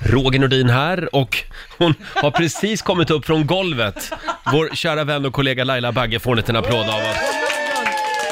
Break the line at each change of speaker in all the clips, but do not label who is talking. Roger Nordin här och hon har precis kommit upp från golvet. Vår kära vän och kollega Laila Bagge får en liten applåd av oss.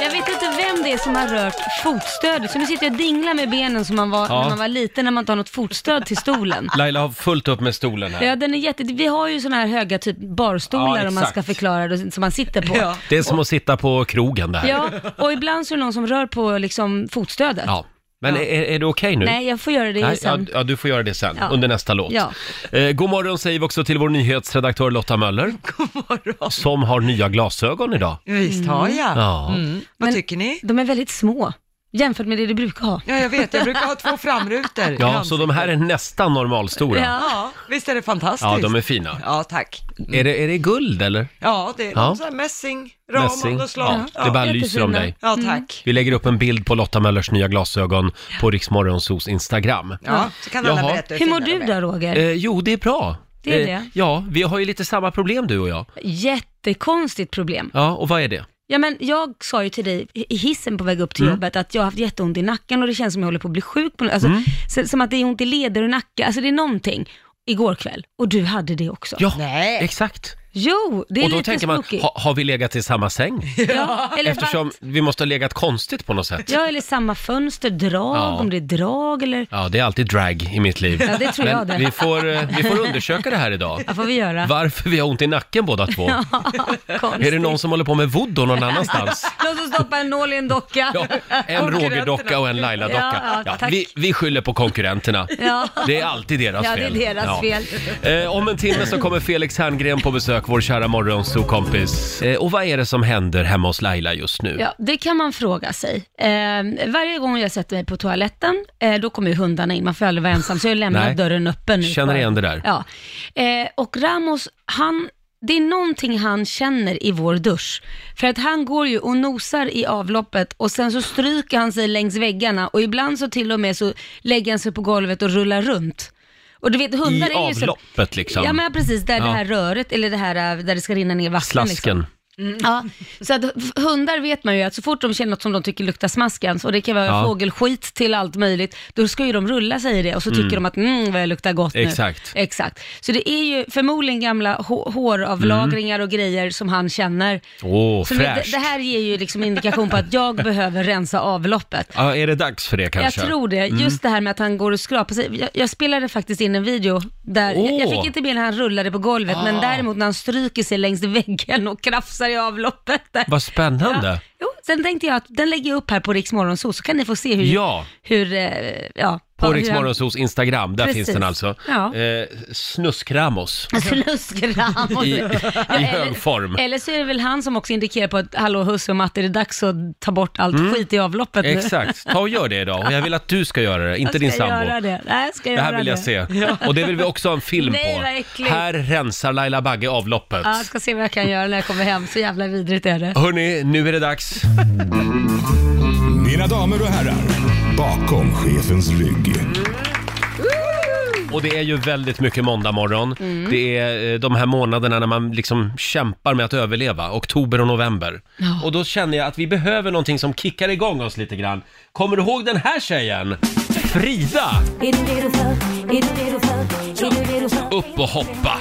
Jag vet inte vem det är som har rört fotstödet, så nu sitter jag och dinglar med benen som man var
Ja.
när man var liten, när man tar något fotstöd till stolen.
Laila har fullt upp med stolen här.
Ja, den är jätte... Vi har ju såna här höga typ barstolar
Ja,
om man
exakt.
ska förklara det, som man sitter på. Ja.
Det är som att sitta på krogen det här.
och ibland så är det någon som rör på liksom fotstödet.
Ja. Men Är, är det okej nu?
Nej, jag får göra det
Nej,
sen.
Ja, ja, du får göra det sen,
Ja.
under nästa låt.
Ja.
Eh, god morgon säger vi också till vår nyhetsredaktör Lotta Möller. God morgon. Som har nya glasögon idag.
Visst har jag.
Ja.
Mm. Vad tycker ni?
De är väldigt små jämfört med det du brukar ha.
Ja, jag vet. Jag brukar ha två framrutor. i
Ja, så
ansiktet.
de här är nästan normalstora. Ja,
Ja, visst är det fantastiskt?
de är fina.
Ja, tack.
Är, det, är det guld eller?
Ja, det är
Ja.
någon sån här mässing, ram av något slag.
Ja, det bara lyser om dig.
Ja,
Mm.
tack.
Vi lägger upp en bild på Lotta Möllers nya glasögon på Riksmorgonsos Instagram.
Ja, så kan alla
Jaha.
berätta
Hur mår
fina de
du
är.
då Roger?
Eh, jo, det är bra.
Det är
Eh,
det.
Ja, vi har ju lite samma problem du och jag.
Jättekonstigt problem.
Ja, och vad är det?
Ja, men jag sa ju till dig i hissen på väg upp
Mm.
till jobbet att jag har haft jätteont i nacken och det känns som jag håller på att bli sjuk. På, nå- alltså,
Mm.
så, som att det är ont i leder och nacke, alltså det är någonting. Igår kväll, och du hade det också.
Ja,
Nej.
exakt.
Jo, det är
Och då
lite
tänker man,
spooky.
ha, har vi legat i samma säng?
ja, eller
Eftersom
vakt-
vi måste ha legat konstigt på något sätt.
Ja, eller samma fönster, drag,
Ja.
om det är drag eller...
Ja, det är alltid drag i mitt liv.
Ja, det tror
Men
jag det.
Vi får, eh, vi får undersöka det här idag.
Vad får vi göra?
Varför vi har ont i nacken båda två. Är det någon som håller på med voodoo någon annanstans?
Någon som stoppar en nål i en docka?
Ja, en Roger-docka och en Laila-docka.
Ja, ja, tack.
vi, vi skyller på konkurrenterna.
Ja.
Det är alltid deras
Ja, det är
fel.
deras fel.
Eh, om en timme så kommer Felix Herngren på besök, vår kära morgonsokompis. Eh, och vad är det som händer hemma hos Laila just nu?
Ja, det kan man fråga sig. Eh, varje gång jag sätter mig på toaletten, eh, då kommer ju hundarna in. Man får aldrig vara ensam, så jag lämnar
Nej.
dörren öppen. Nu
Känner
för-
igen det där.
Ja. Eh, och Ramos, han, det är någonting han känner i vår dusch. För att han går ju och nosar i avloppet och sen så stryker han sig längs väggarna och ibland så till och med så lägger han sig på golvet och rullar runt. Och du vet,
I
hundar är ju så...
avloppet liksom.
Ja men precis, där
Ja.
det här röret, eller det här eh, där det ska rinna ner vatten. Liksom.
Slasken.
Ja, så att f- hundar vet man ju att så fort de känner något som de tycker luktar smaskens, och det kan vara
Ja.
fågelskit till allt möjligt, då ska ju de rulla sig i det och så tycker de att mm vad jag luktar gott nu.
Exakt.
Exakt. Så det är ju förmodligen gamla hå- håravlagringar och grejer som han känner.
Åh,
så det,
fräscht.
det här ger ju liksom indikation på att jag behöver rensa avloppet.
Ja, är det dags för det kanske?
Jag tror
Mm.
det. Just det här med att han går och skrapar sig. Jag, jag spelade faktiskt in en video där, jag, jag
Åh. Ah.
fick inte med när han rullade på golvet, men däremot när han stryker sig längs väggen och krafsar i avloppet. Där.
Vad spännande.
Ja. Jo, sen tänkte jag att den lägger jag upp här på Rix Morgonzoo, så kan ni få se hur...
Ja.
hur eh, ja
På
vad- hur
Rix
han-
Morgonzos Instagram, där
Precis.
finns den alltså.
Ja.
Eh, Snuskramos
Snuskram och...
i,
Ja,
i
eller-
hög form.
Eller så är det väl han som också indikerar på att, hallå husse och matte, det är dags att ta bort allt skit i avloppet nu.
Mm. Exakt, ta och gör det idag. Och jag vill att du ska göra det, inte
Jag
din
ska
sambo.
göra det. Nej, jag ska
Det här
göra
vill jag se. Och det vill vi också ha en film
Nej,
på.
vad äckligt.
Här rensar Laila Bagge avloppet.
Ja, jag ska se vad jag kan göra när jag kommer hem. Så jävla vidrigt är det.
Hörni, nu är det dags.
Mina damer och herrar, bakom chefens rygg.
Och det är ju väldigt mycket måndag morgon.
Mm.
Det är eh, de här månaderna när man liksom kämpar med att överleva, oktober och november. Och då känner jag att vi behöver någonting som kickar igång oss lite grann. Kommer du ihåg den här tjejen? Frida! Upp och hoppa!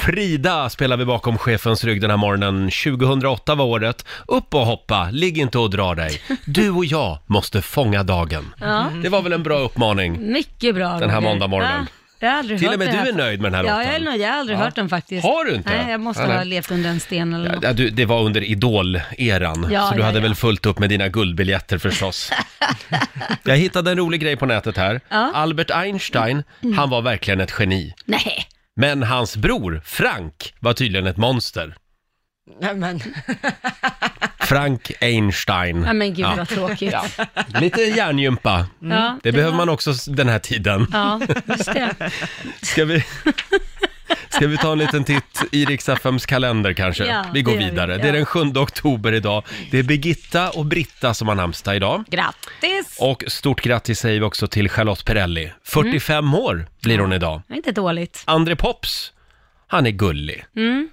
Frida spelar vi bakom chefens rygg den här morgonen. 2008 var året. Upp och hoppa, ligg inte och dra dig. Du och jag måste fånga dagen.
Mm.
Det var väl en bra uppmaning.
Mycket bra
Den här
Roger.
måndagmorgonen.
Va? Jag har aldrig
Till
hört
och med
det
du är nöjd med den här
Ja,
låten.
jag är nöjd. Jag har aldrig
Ja.
hört den faktiskt.
Har du inte?
Nej, jag måste
Ja, nej.
ha levt under en sten eller något.
Ja, du, det var under Idol-eran,
Ja,
så du
ja,
hade
ja.
väl fullt upp med dina guldbiljetter förstås. Jag hittade en rolig grej på nätet här.
Ja. Mm.
Albert Einstein, han var verkligen ett geni.
Nej.
Men hans bror, Frank, var tydligen ett monster.
Nej, men,
Frank Einstein.
Ja, men gud vad tråkigt. Ja,
Lite hjärngympa.
ja
Det behöver
var-
man också s- den här tiden.
Ja, just det.
Ska vi, ska vi ta en liten titt i riks FMs kalender kanske?
Ja,
vi går
det gör vi.
vidare.
Ja.
Det är den 7 oktober idag. Det är Birgitta och Britta som har namnsdag idag.
Grattis!
Och stort grattis säger vi också
Mm.
till Charlotte Perrelli. 45 år blir hon idag.
Det är inte dåligt.
André Pops, Han är gullig.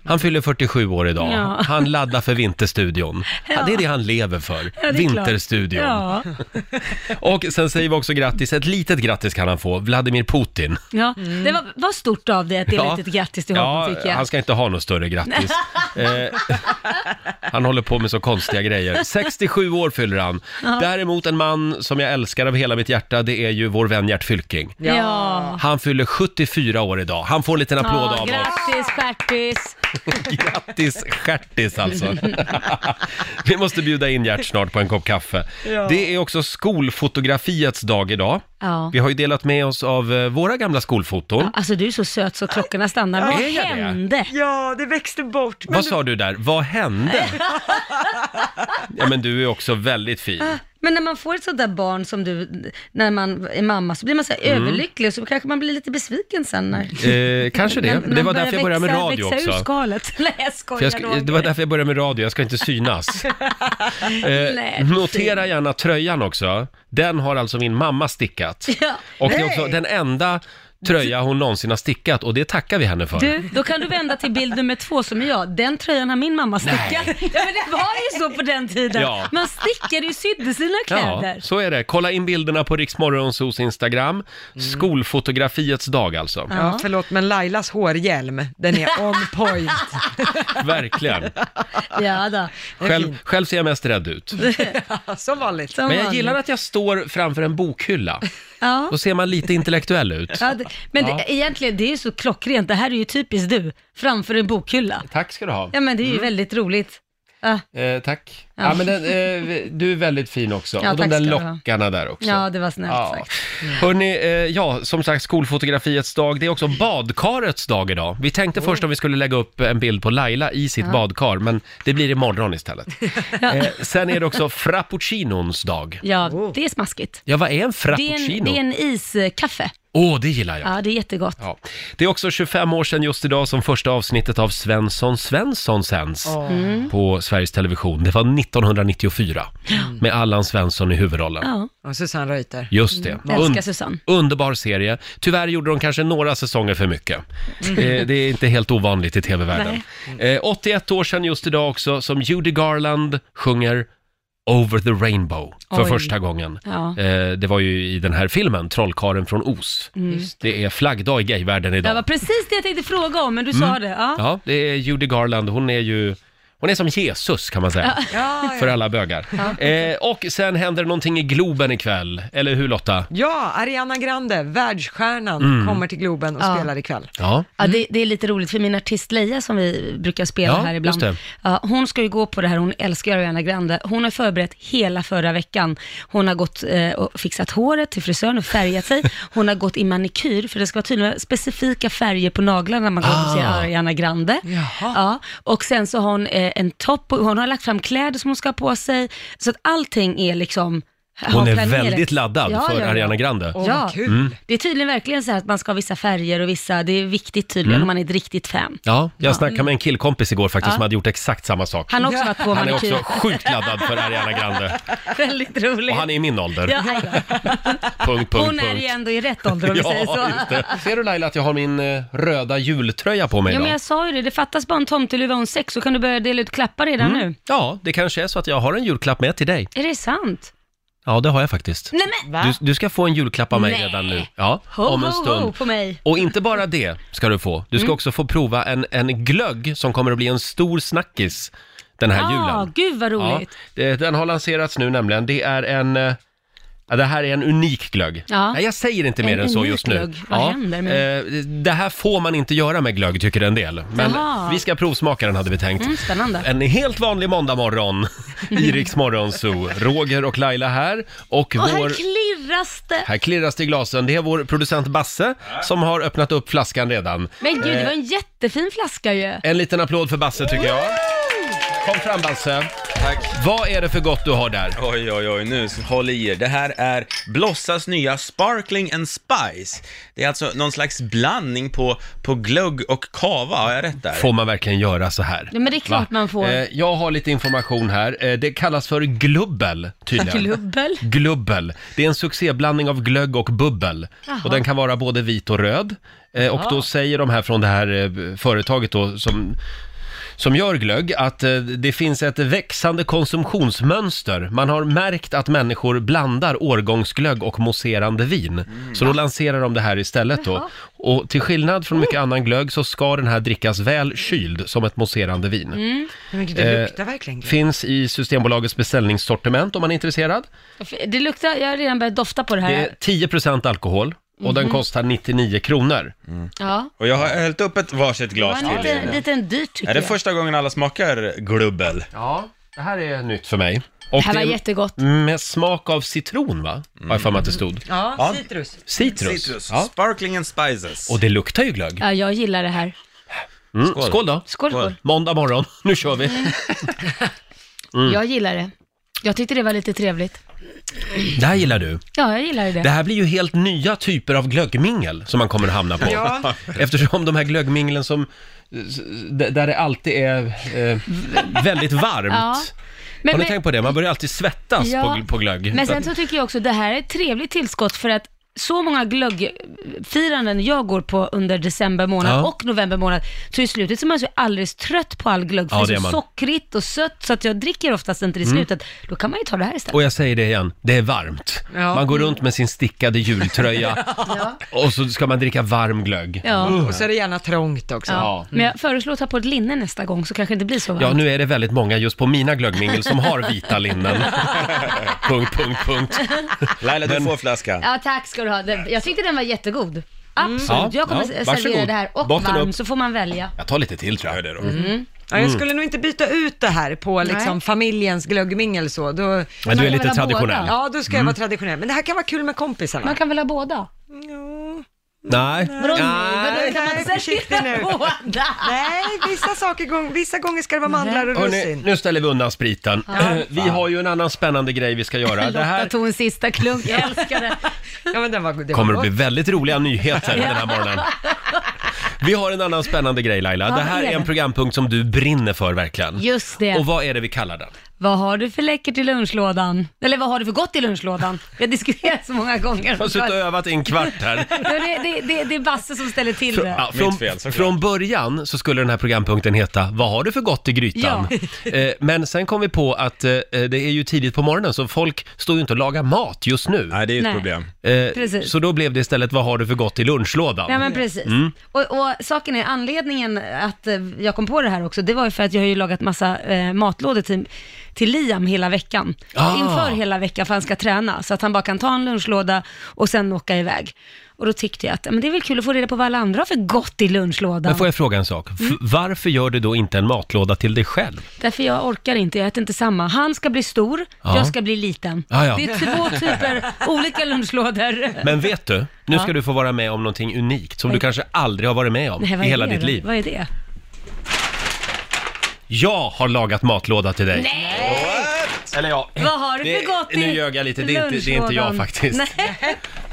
Han fyller 47 år idag.
Mm. Ja.
Han laddar för Vinterstudion. Ja. Det är det han lever
Ja,
för.
det är klart.
vinterstudion.
Ja,
Och sen säger vi också grattis, ett litet grattis kan han få, Vladimir Putin.
ja. det var, var stort av dig att det är
Ja.
ett litet grattis till
Ja,
honom tycker jag.
han ska inte ha något större grattis. eh, han håller på med så konstiga grejer. 67 år fyller han. Däremot en man som jag älskar av hela mitt hjärta, det är ju vår vän Gert Fylking.
Ja,
Han fyller 74 år idag. Han får en liten applåd
Ja,
av oss.
grattis stjärtis!
Grattis stjärtis alltså! Vi måste bjuda in Gert snart på en kopp kaffe. Det är också skolfotografiets dag idag.
Ja.
Vi har ju delat med oss av eh, våra gamla skolfoton.
Alltså du är så söt så klockorna stannar. Vad
Är jag det?
hände?
Ja, det växte bort. Men
Vad sa du där? Vad hände? Ja men du är också väldigt fin.
Men när man får ett sånt där barn som du, när man är mamma, så blir man så här överlycklig och så kanske man blir lite besviken sen när...
Mm. Eh, kanske det.
när-
Men
när
det
man
var därför jag
börjar
började med
växa-
radio
växa ur
också.
skalet. Nej, jag
För
skojar
jag ska,
Roger.
det var därför jag började med radio, jag ska inte synas. Eh,
Nej,
notera gärna tröjan också. Den har alltså min mamma stickat.
Ja.
Och det är också den enda tröja hon någonsin har stickat och det tackar vi henne för.
Du, då kan du vända till bild nummer två som är jag. Den tröjan har min mamma stickat. Ja, men det var ju så på den tiden.
Ja.
Man stickade ju sydde sina
Ja,
kläder.
så är det. Kolla in bilderna på Riksmorgonsos Instagram.
Mm.
Skolfotografiets dag alltså.
Ja, förlåt, men Lailas hårhjälm, den är on point.
Verkligen.
Ja, då.
Själv, själv ser jag mest rädd ut.
Som vanligt.
Som
Men jag
vanligt.
gillar att jag står framför en bokhylla.
Ja.
Då ser man lite intellektuell ut.
Ja, det, men
Ja.
Det, egentligen, det är ju så klockrent. Det här är ju typiskt du, framför en bokhylla.
Tack ska du ha.
Ja, men det är ju väldigt roligt. Ah, Ja,
Eh, tack. Ja.
Ja.
men den, eh, du är väldigt fin också.
Ja,
och de
tack
där
ska du ha.
lockarna där också.
ja det var snällt
Ja.
sagt.
Hörrni, eh, ja, som sagt skolfotografiets dag. Det är också badkarets dag idag. Vi tänkte först om vi skulle lägga upp en bild på Laila i sitt badkar, men det blir imorgon istället. eh, sen är det också frappuccinons dag.
Ja, det är smaskigt.
Ja, vad är en
Det är, en,
frappuccino?
det är en iskaffe.
Åh, det gillar jag!
Ja, det är jättegott.
Ja. Det är också 25 år sedan just idag som första avsnittet av Svensson Svensson sänds
Mm.
på Sveriges Television. Det var 1994 med Allan Svensson i huvudrollen.
Mm. Ja,
Och Susanne Reuter.
Just det.
jag älskar
Und-
Susanne.
underbar serie. Tyvärr gjorde de kanske några säsonger för mycket.
Mm.
Eh, det är inte helt ovanligt i tv-världen. Eh, 81 år sedan just idag också som Judy Garland sjunger Over the Rainbow för
Oj.
första gången.
Ja.
Eh, det var ju i den här filmen, Trollkaren från Oz. Det är flaggdag i gayvärlden idag.
Mm. Det var precis det jag tänkte fråga om,
Mm.
men du sa det. Ja.
Ja, det är Judy Garland. Hon är ju... Hon är som Jesus kan man säga.
Ja,
För alla bögar. Eh, och sen händer det någonting i Globen ikväll. Eller hur Lotta?
Ja, Ariana Grande, världsstjärnan,
Mm.
kommer till Globen och
Ja.
spelar ikväll.
Ja.
Ja, det, det är lite roligt för min artist Leia som vi brukar spela
Mm. Ja,
här ibland.
just
Ja, hon ska ju gå på det här, hon älskar ju Ariana Grande. Hon har förberett hela förra veckan. Hon har gått eh, och fixat håret till frisören och färgat sig. Hon har gått i manikyr, för det ska vara tydligen specifika färger på naglarna när man går och ser
Ah.
Ariana Grande. Ja, och sen så har hon eh, en topp och hon har lagt fram kläder som hon ska ha på sig. Så att allting är liksom
Hon
har
är
planerat.
väldigt laddad
Ja,
för
ja, ja.
Ariana Grande.
Åh,
Ja.
vad kul.
Mm.
Det är tydligen verkligen så här att man ska ha vissa färger och vissa, det är viktigt tydligen
Mm.
om man är ett riktigt fan.
Ja, jag snackade med en killkompis igår faktiskt
Ja.
som hade gjort exakt samma sak.
Han har också varit på
Han är
manikyr.
också sjukt laddad för Ariana Grande.
Väldigt roligt.
Och han är i min ålder.
ja, aj då.
Punkt, punkt,
Hon är ju
punkt.
ändå i rätt ålder om vi säger så.
Ja, just det. Ser du Laila att jag har min eh, röda jultröja på mig
Ja,
idag?
men jag sa ju det, det fattas bara en tomteluva och en sex så kan du börja dela ut klappar redan
Mm.
nu.
Ja, det kanske är så att jag har en julklapp med till dig.
Är det sant?
Ja, det har jag faktiskt.
Nej men,
Du, du ska få en julklapp av mig
Nej.
redan nu. Ja,
ho,
om en
ho, Mm.
stund.
ho på mig.
Och inte bara det ska du få. Du ska också få prova en, en glögg som kommer att bli en stor snackis den här
Ja,
julen.
Ah, gud vad
Ja,
roligt.
det- den har lanserats nu nämligen. Det är en... eh, Ja, det här är en unik glögg.
Ja.
Nej, jag säger inte mer
En
än så
unik
just nu.
glögg. Vad händer
med Det här får man inte göra med glögg, tycker en del. Men
Jaha.
vi ska provsmaka den, hade vi tänkt.
Mm, spännande.
En helt vanlig måndagmorgon i Rix Morgon Zoo. Roger och Laila här. Och
Och
vår...
här klirras det.
Här klirras det i glasen. Det är vår producent Basse som har öppnat upp flaskan redan.
Men gud,
Eh.
det var en jättefin flaska ju.
En liten applåd för Basse tycker jag. Kom fram Basse.
Tack.
Vad är det för gott du har där?
Oj, oj, oj, nu håll i er. Det här är Blossas nya Sparkling and Spice. Det är alltså någon slags blandning på, på glögg och kava, har jag rätt där?
Får man verkligen göra så här?
Ja, men det är klart man får.
Eh, jag har lite information här. Eh, det kallas för glubbel, tydligen.
Klubbel.
Glubbel. Det är en succéblandning av glögg och bubbel.
Jaha.
Och den kan vara både vit och röd. Eh, och då säger de här från det här eh, företaget då som som gör glögg, att eh, det finns ett växande konsumtionsmönster. Man har märkt att människor blandar årgångsglögg och mousserande vin. Så då lanserar de det här istället då.
Mm. Jaha. Mm.
Och till skillnad från mycket annan glögg så ska den här drickas väl kyld som ett mousserande vin.
Mm.
Men gud, det
Eh,
luktar verkligen gott.
Finns i Systembolagets beställningssortiment om man är intresserad.
Det luktar, jag har redan börjat dofta på det här.
Det är 10% alkohol och den
Mhm.
kostar 99 kronor.
ja.
Och jag har hällt upp ett varsitt
Det
glas
var
till
lite,
er.
lite en dyrt tycker
Är det
jag.
första gången alla smakar glubbel?
Ja, det här är nytt för mig. Och
Det här var
är
jättegott.
Med smak av citron va? Har jag för mig att det
Mm.
stod.
Ja,
Ja.
citrus.
Citrus. Ja.
Sparkling and Spices.
Och det luktar ju glögg.
Ja, jag gillar det här.
Mm. Skål. då.
Skål, skål.
Måndag morgon, nu kör vi. Mm.
Jag gillar det. Jag tyckte det var lite trevligt.
Det här gillar du.
Ja, jag gillar det.
Det här blir ju helt nya typer av glöggmingel som man kommer att hamna på.
Ja.
Eftersom de här glöggminglen som, s- d- där det alltid är eh, väldigt varmt.
Ja. Men,
Har ni
men,
tänkt på det? Man börjar alltid svettas
Ja.
på, gl- på glögg.
men sen så tycker jag också det här är ett trevligt tillskott för att så många glöggfiranden jag går på under december månad
Ja.
och november månad, så i slutet så är man så alldeles trött på all glögg, för
Ja,
det
det
är
är
så
man. Mm.
sockrigt och sött, så att jag dricker oftast inte det i slutet. Då kan man ju ta det här istället.
Och jag säger det igen, det är varmt.
Ja.
Man går runt med sin stickade jultröja och så ska man dricka varm glögg.
Ja.
Och så är det gärna trångt också.
Ja.
Ja.
Men jag föreslår att ta på ett linne nästa gång så kanske det inte blir så varmt.
Ja, nu är det väldigt många just på mina glöggmingel som har vita linnen. punkt, punkt, punkt.
Laila, du får flaskan.
Ja, tack ska du ha. Den- Jag tyckte den var jättegod. Absolut,
Mm. Ja,
jag kommer
ja,
servera
varsågod.
det här och
Botten
varm
upp.
så får man välja.
Jag tar lite till tror jag.
Mm.
då.
Ja, jag skulle nog inte byta ut det här på liksom, familjens glöggmingel så. Då,
Men du är
Man kan
lite
ha
traditionell.
båda.
ja, då ska jag vara traditionell. Men det här kan vara kul med kompisarna.
Man kan väl ha båda?
Jo.
Nej.
Vadå nu?
Nej.
Vadå, kan
Nej,
man
försiktig nu.
servera båda?
Nej, vissa, saker, gång- vissa gånger ska det vara mandlar och
Hörrni,
russin.
nu ställer vi undan spriten. Vi har ju en annan spännande grej vi ska göra. Det
Lotta
här
tog en sista klunk, jag älskar det.
Ja, men den var, det var
kommer att
gott.
bli väldigt roliga nyheter den här morgonen. Vi har en annan spännande grej Laila.
Ja,
Det
vad
här
är
är en
det?
programpunkt som du brinner för verkligen.
Just det.
Och vad är det vi kallar den?
Vad har du för läckert i lunchlådan? Eller vad har du för gott i lunchlådan? Vi har diskuterat så många gånger.
Jag har suttit och övat i en kvart här.
Ja, det, det, det, det är Basse som ställer till
Frå-
det.
ja, från,
Mitt fel, såklart.
från början så skulle den här programpunkten heta Vad har du för gott i grytan? Eh, men sen kom vi på att eh, det är ju tidigt på morgonen så folk står ju inte och lagar mat just nu.
Nej, det är ju ett
Nej.
problem.
Eh,
precis.
så då blev det istället Vad har du för gott i lunchlådan?
Ja men precis.
Mm.
Och, och saken är, anledningen att eh, jag kom på det här också, det var ju för att jag har ju lagat massa eh, matlådor till, till Liam hela veckan.
Ah.
Inför hela veckan för han ska träna, så att han bara kan ta en lunchlåda och sen åka iväg. Och då tyckte jag att men det är väl kul att få reda på vad alla andra har för gott i lunchlådan.
Men får jag fråga en sak? F-
Mm.
Varför gör du då inte en matlåda till dig själv?
Därför jag orkar inte, jag äter inte samma. Han ska bli stor,
Ja.
jag ska bli liten.
Ja, ja.
Det är två typer olika lunchlådor.
Men vet du, nu ska
Ja.
du få vara med om någonting unikt som du kanske aldrig har varit med om
Nej, vad
i
är
hela
det
ditt
då?
liv.
Vad är det?
Jag har lagat matlåda till dig. Eller ja,
Vad har du
Det-
för gott i
nu ljög jag lite. Det är inte- det är inte jag
lunchlådan?
faktiskt.
Nej.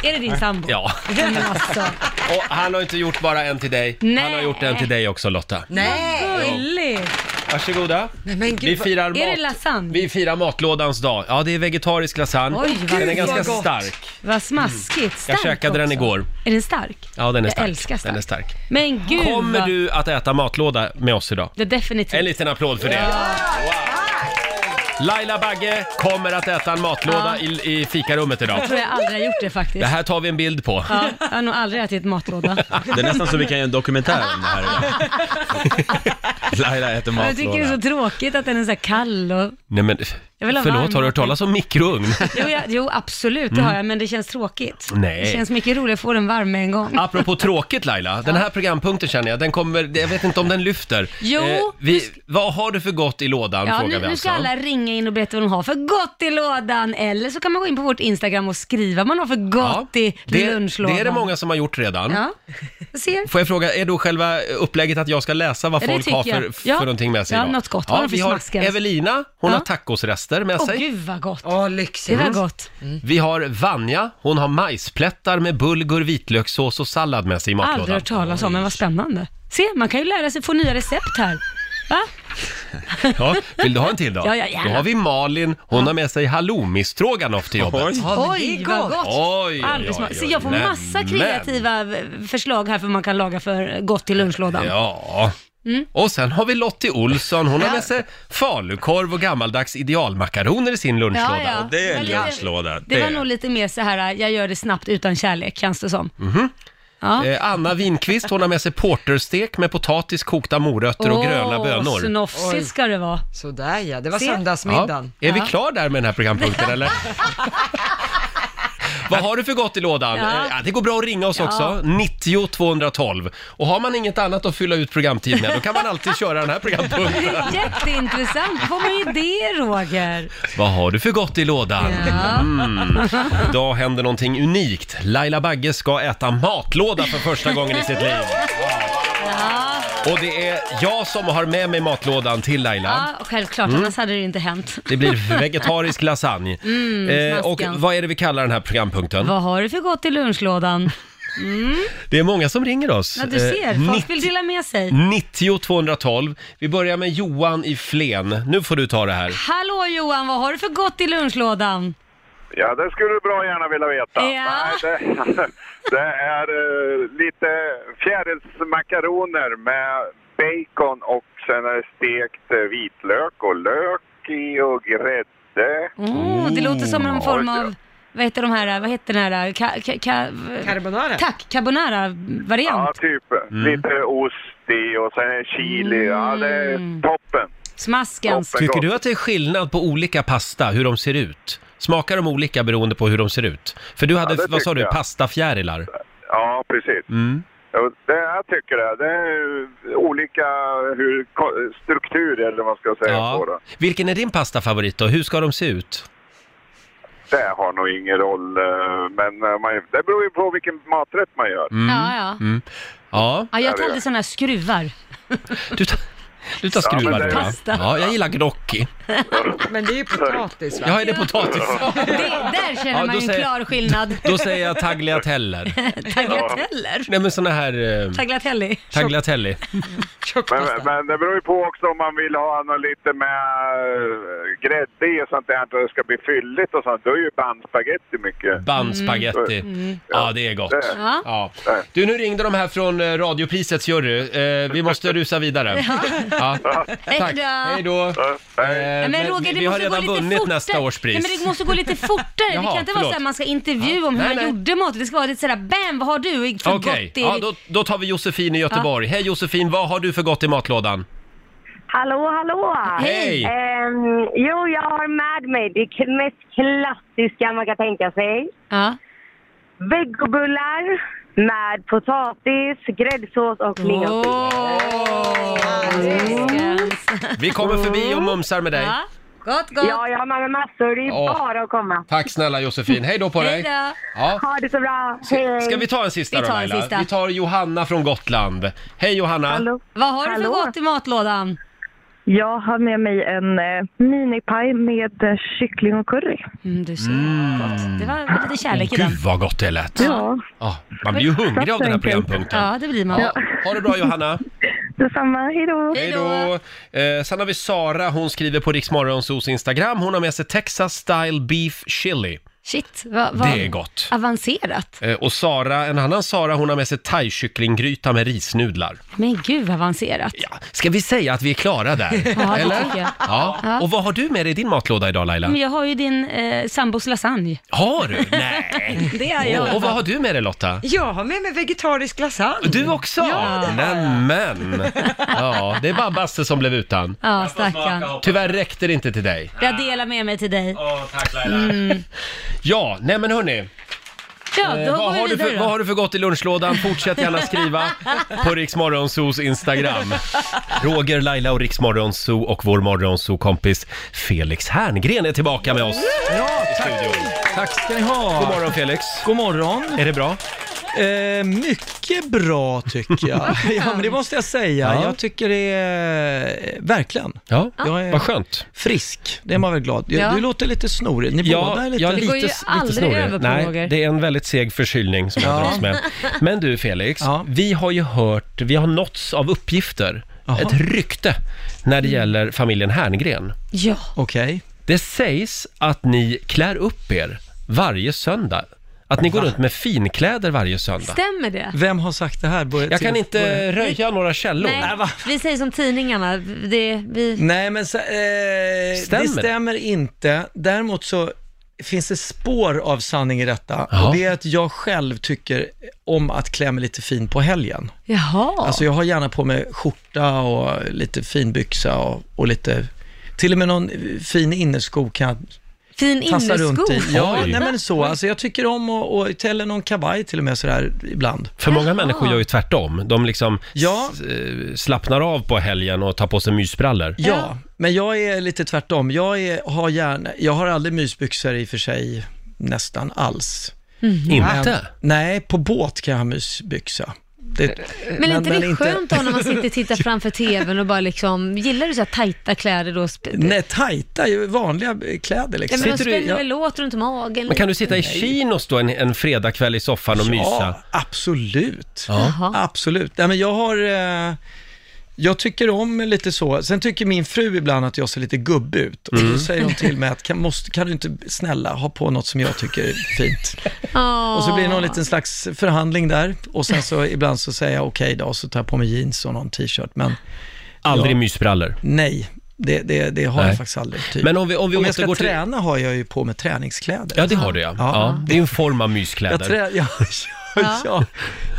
Är det din sambo?
ja.
Men alltså,
Och han har inte gjort bara en till dig,
Nej.
han har gjort en till dig också Lotta.
Nej!
gulligt.
Varsågoda.
Nej, men gud,
Vi
vad-
Är
firar,
det
mat,
lasagne?
vi firar matlådans dag. Ja, det är vegetarisk lasagne.
Oj, vad
den är
gud,
ganska
vad gott.
stark.
Vad smaskigt. Stark
Jag käkade den
också.
igår.
Är den stark?
Ja, den är
Jag
stark.
älskar stark.
Den är stark.
Men gud
Kommer
vad-
du att äta matlåda med oss idag?
Det är definitivt.
En liten applåd för det. Wow. Laila Bagge kommer att äta en matlåda i, i fikarummet idag.
Jag tror jag aldrig har gjort det faktiskt.
Det här tar vi en bild på.
Ja, jag har nog aldrig ätit matlåda.
Det är nästan så vi kan göra en dokumentär om det här idag. Laila äter
jag tycker det är
matlåda.
så tråkigt att den är så här kall och...
Nej men,
Jag vill ha varm
Förlåt, har du hört
vatten.
talas om mikrougn?
Jo, jag, jo absolut, det har jag, men det känns tråkigt.
Mm. Nej.
Det känns mycket roligare att få den varm med en gång.
Apropå tråkigt Laila, den här programpunkten känner jag, den kommer, jag vet inte om den lyfter. Eh,
Jo,
vi, vad har du för gott i lådan
Ja,
frågar
nu,
vi
nu
alltså.
ska alla ringa in och berätta vad de har för gott i lådan, eller så kan man gå in på vårt Instagram och skriva vad man har för gott i
det,
lunchlådan.
det är det många som har gjort redan.
Ja, jag ser.
Får jag fråga, är då själva upplägget att jag ska läsa vad
Ja, det
folk
tycker
har för,
jag.
för
Ja.
någonting med sig
Ja,
idag?
något gott. Vad
Ja,
har de för
vi har
smaskens?
Evelina, hon
Ja.
har tacoresrester med
Åh
sig.
gud vad gott.
Åh,
Det
lyxigt.
mm.
var gott.
Vi har Vanja, hon har majsplättar med bulgur, vitlökssås och sallad med sig i matlådan.
Aldrig hört talas om, men vad spännande. Se, man kan ju lära sig få nya recept här. Va?
Ja, vill du ha en till då?
Ja, ja, gärna.
Då har vi Malin, hon har med sig halloumistroganoff till jobbet.
Oj.
Ja, men det är
Oj, vad gott.
Oj, oj,
Aldrig
oj,
smak. Så
oj.
jag får
Nej,
massa
men.
kreativa eh, förslag här för vad man kan laga för gott i lunchlådan.
Ja.
Mm.
Och sen har vi Lottie Olsson, hon har med sig falukorv och gammaldags idealmakaroner i sin lunchlåda.
Ja, ja.
Det är en
Det var lite-
lunchlåda.
Det var nog lite mer så här, jag gör det snabbt utan kärlek, känns det som.
Mhm.
Ja.
Eh, Anna Winqvist, hon har med sig porterstek med potatis, kokta morötter och
Åh,
gröna bönor.
Snofsigt ska det vara.
Sådär ja, det var
Se.
Ja.
söndagsmiddagen.
Är vi klar där med den här programpunkten eller? Vad har du för gott i lådan?
Ja.
Eh, Ja, det går bra att ringa oss också, 90 212. Och har man inget annat att fylla ut programtid med, då kan man alltid köra den här programpunkten.
Jätteintressant. Får man ju det, Roger?
Vad har du för gott i lådan? Mm. Idag händer någonting unikt. Laila Bagge ska äta matlåda för första gången i sitt liv. Och det är jag som har med mig matlådan till Laila.
Ja, och självklart. Annars hade det ju inte hänt.
Det blir vegetarisk lasagne.
Mm,
eh, och
smaskigt.
vad är det vi kallar den här programpunkten?
Vad har du för gott i lunchlådan?
Det är många som ringer oss.
Ja, du
Eh,
ser. Folk vill dela med sig.
90 212. Vi börjar med Johan i Flen. Nu får du ta det här.
Hallå Johan, vad har du för gott i lunchlådan?
Ja, det skulle du bra gärna vilja veta.
Ja.
Nej, det, det är eh, lite fjärilsmakaroner med bacon och sen är det stekt eh, vitlök och lök i och grädde.
Oh, det låter som en form av, vad heter de här, vad heter den här, ka, ka, ka,
Carbonara.
tack,
Ja,
carbonara-variant.
typ.
Mm.
Lite ost i och sen är det chili. Ja, det är toppen.
Smaskens.
Toppen
Tycker
gott.
du att det är skillnad på olika pasta, hur de ser ut? Smakar de olika beroende på hur de ser ut? För du hade,
Ja, det
vad sa
tycker
du,
jag.
pastafjärilar?
Ja, precis.
Mm.
Ja, Det jag tycker det. Det är olika hur, ko- struktur eller vad man ska säga på det.
Vilken är din pastafavorit då? Hur ska de se ut?
Det har nog ingen roll, eh, men eh, man, det beror ju på vilken maträtt man gör.
Ja, ja.
Ja,
ja,
Ja,
jag
det
tar
gör.
alltid sådana här skruvar.
du, tar- du tar
Ja, men
skruvar
det-
du, va?
Pasta.
Ja, jag gillar gnocchi.
Men det är ju potatis va?
Ja, är det potatis?
Det, där känner
Ja,
man
då
ju en
säger-
klar skillnad.
Då säger jag tagliateller.
Tagliateller?
Nej men såna här... Eh,
Tagliatelli?
tagliatelli.
Men,
Tjockpasta.
men det beror ju på också om man vill ha något lite med eh, grädde i och sånt där, att det ska bli fylligt och sånt. Då är ju bandspagetti mycket.
Bandspagetti. Ja, det är gott.
Mm. Det-
Ja.
Mm. Ja. Du, nu ringde de här från eh, Radioprisets jury. Eh, vi måste rusa vidare. Ja. Tack. Hej då.
Ja, nej.
Eh,
Nej, men
men
Roger, det
vi har
måste
redan
gå lite
vunnit
fortare.
nästa års pris.
Nej, men det måste gå lite fortare. det
Jaha,
kan inte vara så
förlåt.
att man ska intervjua om hur
Nej,
man
nej.
gjorde mat. Det ska vara lite sådär, bam, vad har du för
Okej,
gott i...
ja, då, då tar vi Josefin i Göteborg. Hej Josefin, vad har du för gott i matlådan?
Hallå, hallå!
Hej!
Ehm, jo, jag har med mig det k- mest klassiska man kan tänka sig.
Ja.
Vegobullar med potatis, gräddsås och lingonsylt.
Vi kommer förbi och mumsar med dig.
ja. Gott, gott.
Ja, jag har med mig massor. Mm. Det är
Åh.
bara att komma.
Tack snälla Josefin, hej då på
Hej
dig!
då.
Ja.
Ha det så bra. Hej.
Ska vi ta en sista
Vi
då
tar en
Laila?
sista.
Vi tar Johanna från Gotland. Hej Johanna!
Hallå.
Vad har du för
Hallå.
gott i matlådan?
Jag har med mig en eh, minipaj med eh, kyckling och curry.
Mm, du ser. Gott. Det var lite kärlek i den.
Gud vad gott det lät!
Ja,
Ja, man blir ju hungrig av den här programpunkten.
Ja, det blir man.
Ja. Ha det bra Johanna!
detsamma. Hej då!
Hej då! Eh, sen har vi Sara, hon skriver på Riksmorgonsos Instagram. Hon har med sig Texas Style Beef Chili.
Shit, vad, vad
Det är gott.
avancerat.
Eh, Och Sara, en annan Sara, hon har med sig thaikycklinggryta med risnudlar.
Men gud vad avancerat.
Ja, ska vi säga att vi är klara där?
Ja, det tycker jag.
Ja.
Ja. Mm.
Och vad har du med dig i din matlåda idag Laila?
Men jag har ju din eh, sambos lasagne.
Har du? Nej!
Det är
Åh,
jag.
och vad har du med dig Lotta?
Jag har med mig vegetarisk lasagne.
Du också? Nämen! Ja, det är bara Basse som blev utan.
Ja, stackarn.
Tyvärr räckte det inte till dig.
Jag delar med mig till dig.
Åh, tack Laila.
Ja, nej men hörni.
Ja, då
Eh,
går
vad, har
vi
du för,
vidare
vad
då.
har du för gott i lunchlådan? Fortsätt gärna skriva på Riksmorgonsos Instagram. Roger, Laila och Riksmorgonso och vår morgonso-kompis Felix Herngren är tillbaka med oss
Mm.
i studion.
Tack ska ni ha.
God morgon Felix!
God morgon.
Är det bra?
Eh, mycket bra tycker jag. ja, men det måste jag säga.
Ja.
Jag tycker det är... Verkligen.
Ja,
Jag är
vad skönt.
frisk. Det är man väl glad. Jag-
Ja.
Du låter lite snorig. Ni båda är lite...
Det går ju aldrig över på
Nej,
Roger.
det är en väldigt seg förkylning som jag
Ja.
dras med. Men du Felix,
Ja.
vi har ju hört, vi har nåtts av uppgifter,
Jaha.
ett rykte när det
Mm.
gäller familjen Herngren.
Ja,
Okej.
Det sägs att ni klär upp er varje söndag. Att ni går runt med finkläder varje söndag.
Stämmer det?
Vem har sagt det här? Börja-
Jag kan
till- börja-
inte röja några källor.
Äh,
Nej, vi säger som tidningarna. Det, vi...
Nej, men så, eh,
Stämmer
det stämmer inte. Däremot så finns det spår av sanning i detta.
Ja.
Och det är att jag själv tycker om att klä mig lite fin på helgen.
Jaha.
Alltså jag har gärna på mig skjorta och lite finbyxa och, och lite, till och med någon fin innersko kan jag
fin
tassa runt
innersko.
i. Ja,
Oj.
nej men så. Alltså jag tycker om och, och eller någon kavaj till och med sådär ibland.
För många människor gör ju tvärtom. De liksom
Ja.
s- eh, slappnar av på helgen och tar på sig mysbrallor.
Ja, men jag är lite tvärtom. Jag, är, har gärna, jag har aldrig mysbyxor i och för sig, nästan alls.
Inte?
Nej, på båt kan jag ha mysbyxa. Det,
Men är inte det skönt då när man sitter och tittar framför tvn och bara liksom, gillar du så här tajta kläder då? Sp-
Nej, tajta, ju vanliga kläder liksom.
Nej, men de
sitter du-
spänner
ja.
väl åt runt magen?
Men kan du sitta i chinos då en, en fredagkväll i soffan och mysa?
Ja, absolut.
Jaha.
Absolut. Nej, men jag har... Eh, jag tycker om lite så. Sen tycker min fru ibland att jag ser lite gubbig ut. Och
Mm.
då säger hon till mig att kan, måste, kan du inte snälla ha på något som jag tycker är fint?
Åh.
Och så blir det någon liten slags förhandling där. Och sen så ibland så säger jag okej då, och så tar jag på mig jeans och någon t-shirt. Men
Aldrig mysbrallor.
nej, det, det, det har
Nej.
jag faktiskt aldrig. Typ.
Men om vi, om vi
Om jag ska
återgår till...
träna har jag ju på mig träningskläder.
Ja, det har du ja. ja.
Ja.
det är ju en form av myskläder.
jag, trä, ja, ja, ja,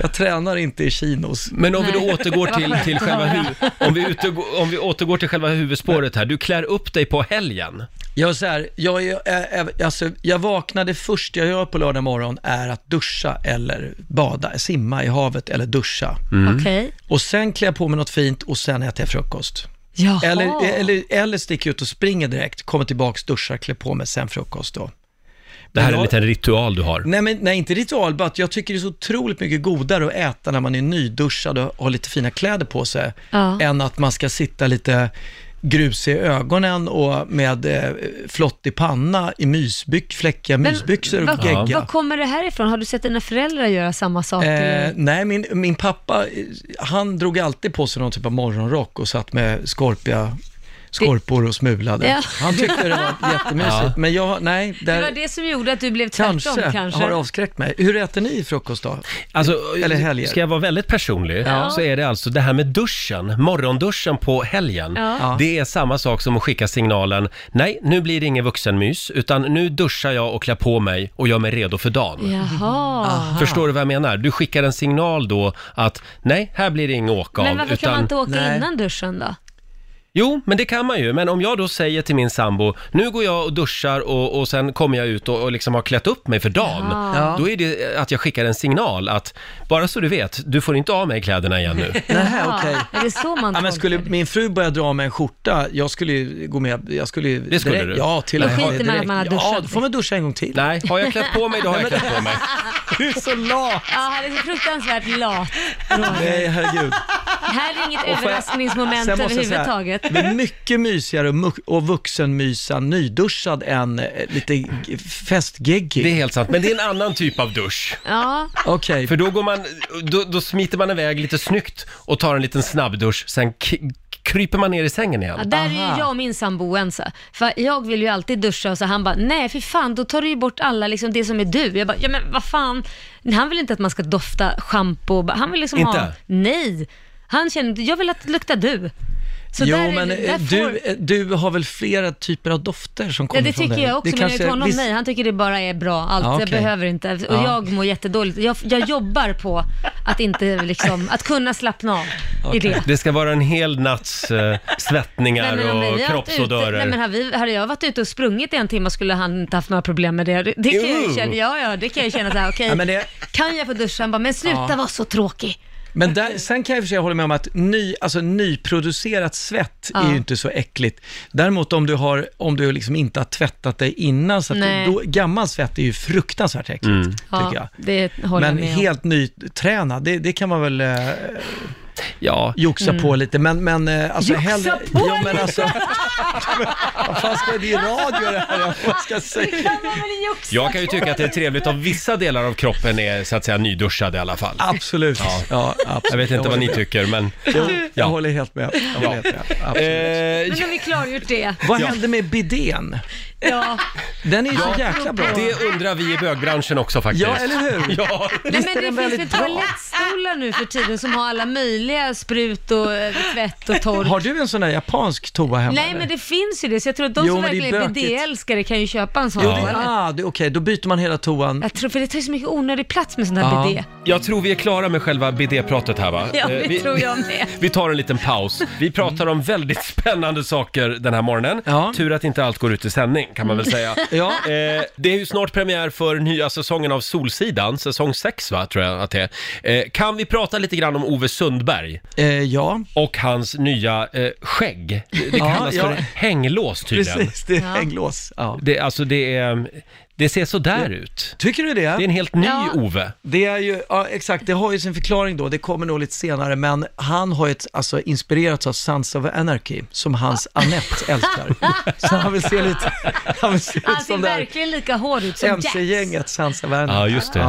jag tränar inte i chinos.
Men om vi då återgår till, till själva hu- om vi utegår, om vi återgår till själva huvudspåret här. Du klär upp dig på helgen.
Jag, så här, jag, jag, jag, alltså, jag vaknade först, jag gör på lördag morgon, är att duscha eller bada, simma i havet eller duscha.
Mm.
Okej.
Och sen klär jag på mig något fint och sen äter jag frukost.
Jaha.
Eller, eller, eller sticker ut och springer direkt, kommer tillbaks, duschar, klär på mig, sen frukost då.
Det här är
Men
en
jag-
liten ritual du har.
Nej, men, nej, inte ritual, bara att jag tycker det är så otroligt mycket godare att äta när man är nyduschad och har lite fina kläder på sig,
Ja.
än att man ska sitta lite grusig i ögonen och med eh, flottig panna i mysbyx, fläckiga mysbyxor
vad-
och gegga.
Var kommer det här ifrån? Har du sett dina föräldrar göra samma sak?
Eh,
eller?
nej, min, min pappa, eh, han drog alltid på sig någon typ av morgonrock och satt med skorpiga skorpor och smulade.
Ja.
Han tyckte det var jättemysigt, men jag, nej,
det
där
var det som gjorde att du blev tvärtom
kanske,
kanske.
har avskräckt mig. Hur äter ni frukost då?
Alltså,
Eller helger.
Ska jag vara väldigt personlig så är det alltså det här med duschen, morgonduschen på helgen.
Ja.
Det är samma sak som att skicka signalen, nej nu blir det ingen vuxenmys, utan nu duschar jag och klär på mig och gör mig redo för dagen.
Jaha.
Förstår du vad jag menar? Du skickar en signal då att nej, här blir det inget åka av.
Men varför kan man inte åka
Nej.
innan duschen då?
Jo, men det kan man ju. Men om jag då säger till min sambo, nu går jag och duschar och, och sen kommer jag ut och, och liksom har klätt upp mig för dagen.
Ja.
Då är det att jag skickar en signal att, bara så du vet, du får inte av mig kläderna igen nu.
Nej,
Ja,
okej.
Är det så man
Ja,
tolkar
men skulle
det?
min fru börja dra med en skjorta, jag skulle ju gå med, jag skulle ju
Det skulle
direkt,
du.
Ja, till och
Då
med
skiter man att man har
Ja,
duschat.
då får man duscha en gång till.
Nej, har jag klätt på mig, då har jag klätt på mig.
Du är så lat!
Ja, han är så fruktansvärt lat. Roger.
Nej, herregud.
Här är inget
får jag-
överraskningsmoment
Sen måste jag säga,
överhuvudtaget.
Det är mycket mysigare och mu- och vuxenmysa nyduschad än eh, lite g-
Det är
festgeggig.
helt sant, men det är en annan typ av dusch.
Ja,
Okej,
För då, går man, då, då smiter man iväg lite snyggt och tar en liten snabbdusch, sen k- kryper man ner i sängen igen.
Ja, där är ju jag och min sambo oense. För jag vill ju alltid duscha och så han bara, nej för fan, då tar du ju bort alla, liksom, det som är du. Jag bara, ja men vad fan. Han vill inte att man ska dofta schampo, och bara- han vill liksom
Inte?
ha, nej. Han känner, jag vill att det luktar du. Så
jo,
där är-
men eh,
där får-
du, eh, du har väl flera typer av dofter som
Ja,
kommer
det
från
tycker
dig?
jag också, men jag är
kanske-
till honom,
visst-
nej, han tycker det bara är bra, allt.
Ja,
Jag
okej.
behöver inte, och
Ja.
jag mår jättedåligt. Jag, jag jobbar på att inte liksom, att kunna slappna av i det.
Det ska vara en hel natts eh, svettningar
om vi har
och
varit ute- Nej, men
kroppsodörer.
har, vi, hade jag varit ute och sprungit i en timme skulle han inte haft några problem med det. Det kan jag ju
Jo.
känna, ja, ja, det kan jag ju känna så här, okej,
Ja, men det-
kan jag få duscha? Han bara, men sluta
Ja.
vara så tråkig.
Men där, sen kan jag i och för sig hålla med om att ny, alltså, nyproducerat svett
Ja.
är ju inte så äckligt. Däremot om du, har, om du liksom inte har tvättat dig innan, så att
Nej.
då, gammal svett är ju fruktansvärt äckligt,
Mm.
tycker jag.
Ja, det håller
men
jag med om.
helt nytränad, det, det kan man väl eh,
Ja.
joxa
Mm.
på lite. Men, men eh, alltså
Joxa
hellre...
på
ja, men
lite!
alltså, Vad fan ska det i radio det här? Vad ska jag säga?
Jag kan ju tycka att det är trevligt om vissa delar av kroppen är så att säga nyduschade i alla fall.
Absolut.
Ja.
Ja, absolut.
Jag vet inte
håller
vad ni
med.
tycker, men...
Jo,
Ja.
Jag håller helt med. Jag håller
Ja.
helt med.
Eh,
Men
Absolut.
nu har vi klargjort det.
Vad hände med bidén?
Ja.
Den är ju
Ja,
så jäkla bra.
Det undrar vi i bögbranschen också faktiskt.
Ja, eller hur?
Ja.
Nej,
Visst är
men
den
det finns
väldigt
väl
bra?
toalettstolar nu för tiden som har alla möjliga sprut och eh, tvätt och tork.
Har du en sån där japansk toa hemma?
Nej, men det finns ju det, så jag tror att de
Jo,
som
men det är
verkligen är
bökigt.
BD-älskare kan ju köpa en sån.
Jo, det,
toalett.
ah, det, okej, då byter man hela toan.
Jag tror, för det tar ju så mycket onödig plats med sån där
Ja.
BD.
Jag tror vi är klara med själva BD-pratet här va?
Ja,
Eh,
det tror jag med.
Vi tar en liten paus. Vi pratar om väldigt spännande saker den här morgonen.
Ja.
Tur att inte allt går ut i sändning kan man väl säga.
Ja.
Eh, det är ju snart premiär för nya säsongen av Solsidan, säsong 6 va, tror jag att det är. Eh, kan vi prata lite grann om Ove Sundberg
Eh, ja,
och hans nya eh, skägg? Det, det
Ja,
kallas
ja.
för hänglås tydligen.
precis. Det är
Ja.
hänglås. Ja.
Det, alltså det, är, det ser sådär ut.
Tycker du
Det är en
det?
helt ny
Ja.
Ove.
Det är ju, ja exakt, det har ju sin förklaring då, det kommer nog lite senare, men han har ju ett, alltså inspirerats av Sons of Anarchy, som hans Annette älskar. Så han vill se lite, han vill se
Han
ut
ser
som det här
verkligen lika hård ut som Jax.
MC-gänget Sons of Anarchy.
Ja, just det.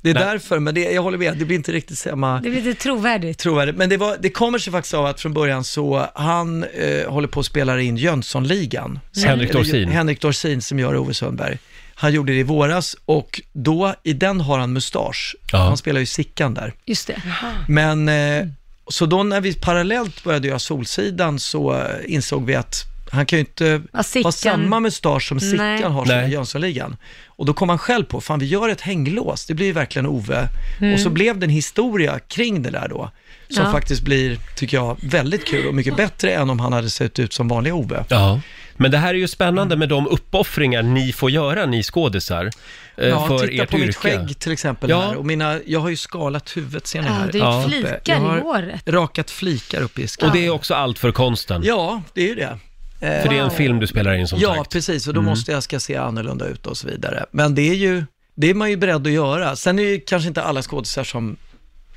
det är
Nej.
därför, men det, jag håller med, det blir inte riktigt samma...
Det blir lite trovärdigt.
trovärdigt. Men det, var, det kommer sig faktiskt av att från början så, han eh, håller på att spela in Jönssonligan.
Mm. Henrik Dorsin.
Eller, Henrik Dorsin som gör Ove Sundberg. Han gjorde det i våras och då, i den har han mustasch.
Ja.
Han spelar ju Sickan där.
Just det.
Men, eh, så då när vi parallellt började göra Solsidan så eh, insåg vi att han kan ju inte
Ja, Sickan-
ha samma mustasch som Sickan
Nej.
har som
Nej.
i Jönssonligan. Och då kom han själv på, fan vi gör ett hänglås, det blir ju verkligen Ove. Och så blev det en historia kring det där då, som
Ja.
faktiskt blir, tycker jag, väldigt kul och mycket bättre än om han hade sett ut som vanliga Ove.
Ja. Men det här är ju spännande med de uppoffringar ni får göra, ni skådisar, eh,
Ja,
för
titta
ert
på
yrke.
mitt skägg till exempel
Ja.
här, och mina, jag har ju skalat huvudet, ser ni
Ja,
här?
du
Ja.
ja.
Jag
flikar
har
i håret.
rakat flikar uppe i skallen.
Och det är också allt för konsten.
Ja, det är ju det. Eh,
För det är en film du spelar in som
Ja,
sagt. Mm.
precis. Och då måste jag ska se annorlunda ut och så vidare. Men det är ju, det är man ju beredd att göra. Sen är det ju kanske inte alla skådisar som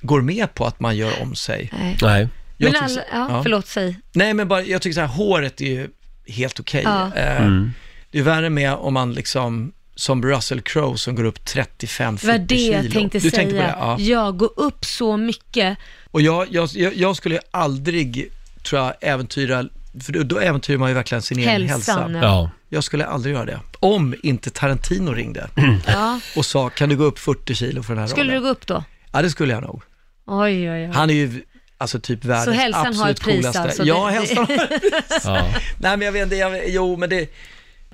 går med på att man gör om sig.
Nej.
Nej.
Jag
Men
tycker
alla,
så-
ja,
ja.
förlåt, säg.
Nej, men bara, jag tycker så här, håret är ju helt okej.
Ja.
Eh,
Mm.
Det är värre med om man liksom, som Russell Crowe som går upp 35-40
Det var
kilo.
det jag tänkte
du
säga.
Tänkte på det? Ja.
Jag går upp så mycket.
Och jag, jag, jag, jag skulle ju aldrig, tror jag, äventyra, för då- då äventyrar man ju verkligen sin egen hälsa.
Hälsan. Ja.
Ja.
Jag skulle aldrig göra det. Om inte Tarantino ringde.
Ja.
och sa, kan du gå upp 40 kilo för den här
Skulle du
rollen?
gå upp då?
Ja, det skulle jag nog.
Oj, oj, oj.
Han är ju alltså typ världens
Så hälsan har
absolut
ett pris
coolaste.
alltså?
Ja,
Det-
hälsan har ett pris.
ja.
Nej, men jag vet inte, jag, jo, men det...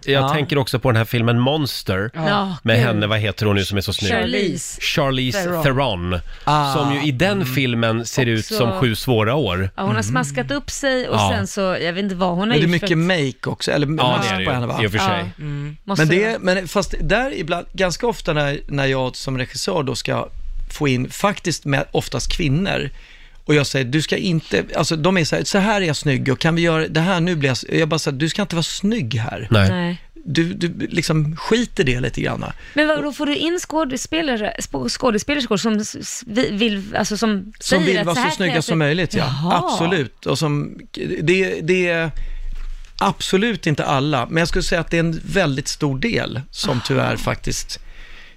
Jag
Ja.
tänker också på den här filmen Monster.
Ja,
Med
gud.
henne, vad heter hon nu som är så snygg?
Charlize.
Charlize Theron.
Theron. Ah.
Som ju i den filmen ser ut
Också-
som sju svåra år.
Ja, hon har smaskat upp sig och
Ja.
sen så, jag vet inte vad hon har
Mm. Men det är
gjort. för
mycket
att-
make också, eller
Ja,
mask
det är det
på henne va?
ju. I och för sig.
Ja. Mm. Måste
Men,
vara.
det, men fast där ibland, ganska ofta när, när jag som regissör då ska få in, faktiskt med oftast kvinnor, och jag säger, du ska inte, alltså de är så här, så här är jag snygg och kan vi göra det här, nu blir jag, s-" jag bara säger, du ska inte vara snygg här.
Nej.
Nej.
Du, du liksom skiter det lite grann.
Men vad, då får du in skådespelare, sp- skådespelerskor som s- s- vi- vill, alltså som
Som
säger
vill
att
vara
här
så
kan
snygga
jag se-
som möjligt, ja.
Jaha.
Absolut. Och som, det, det är absolut inte alla, men jag skulle säga att det är en väldigt stor del som tyvärr faktiskt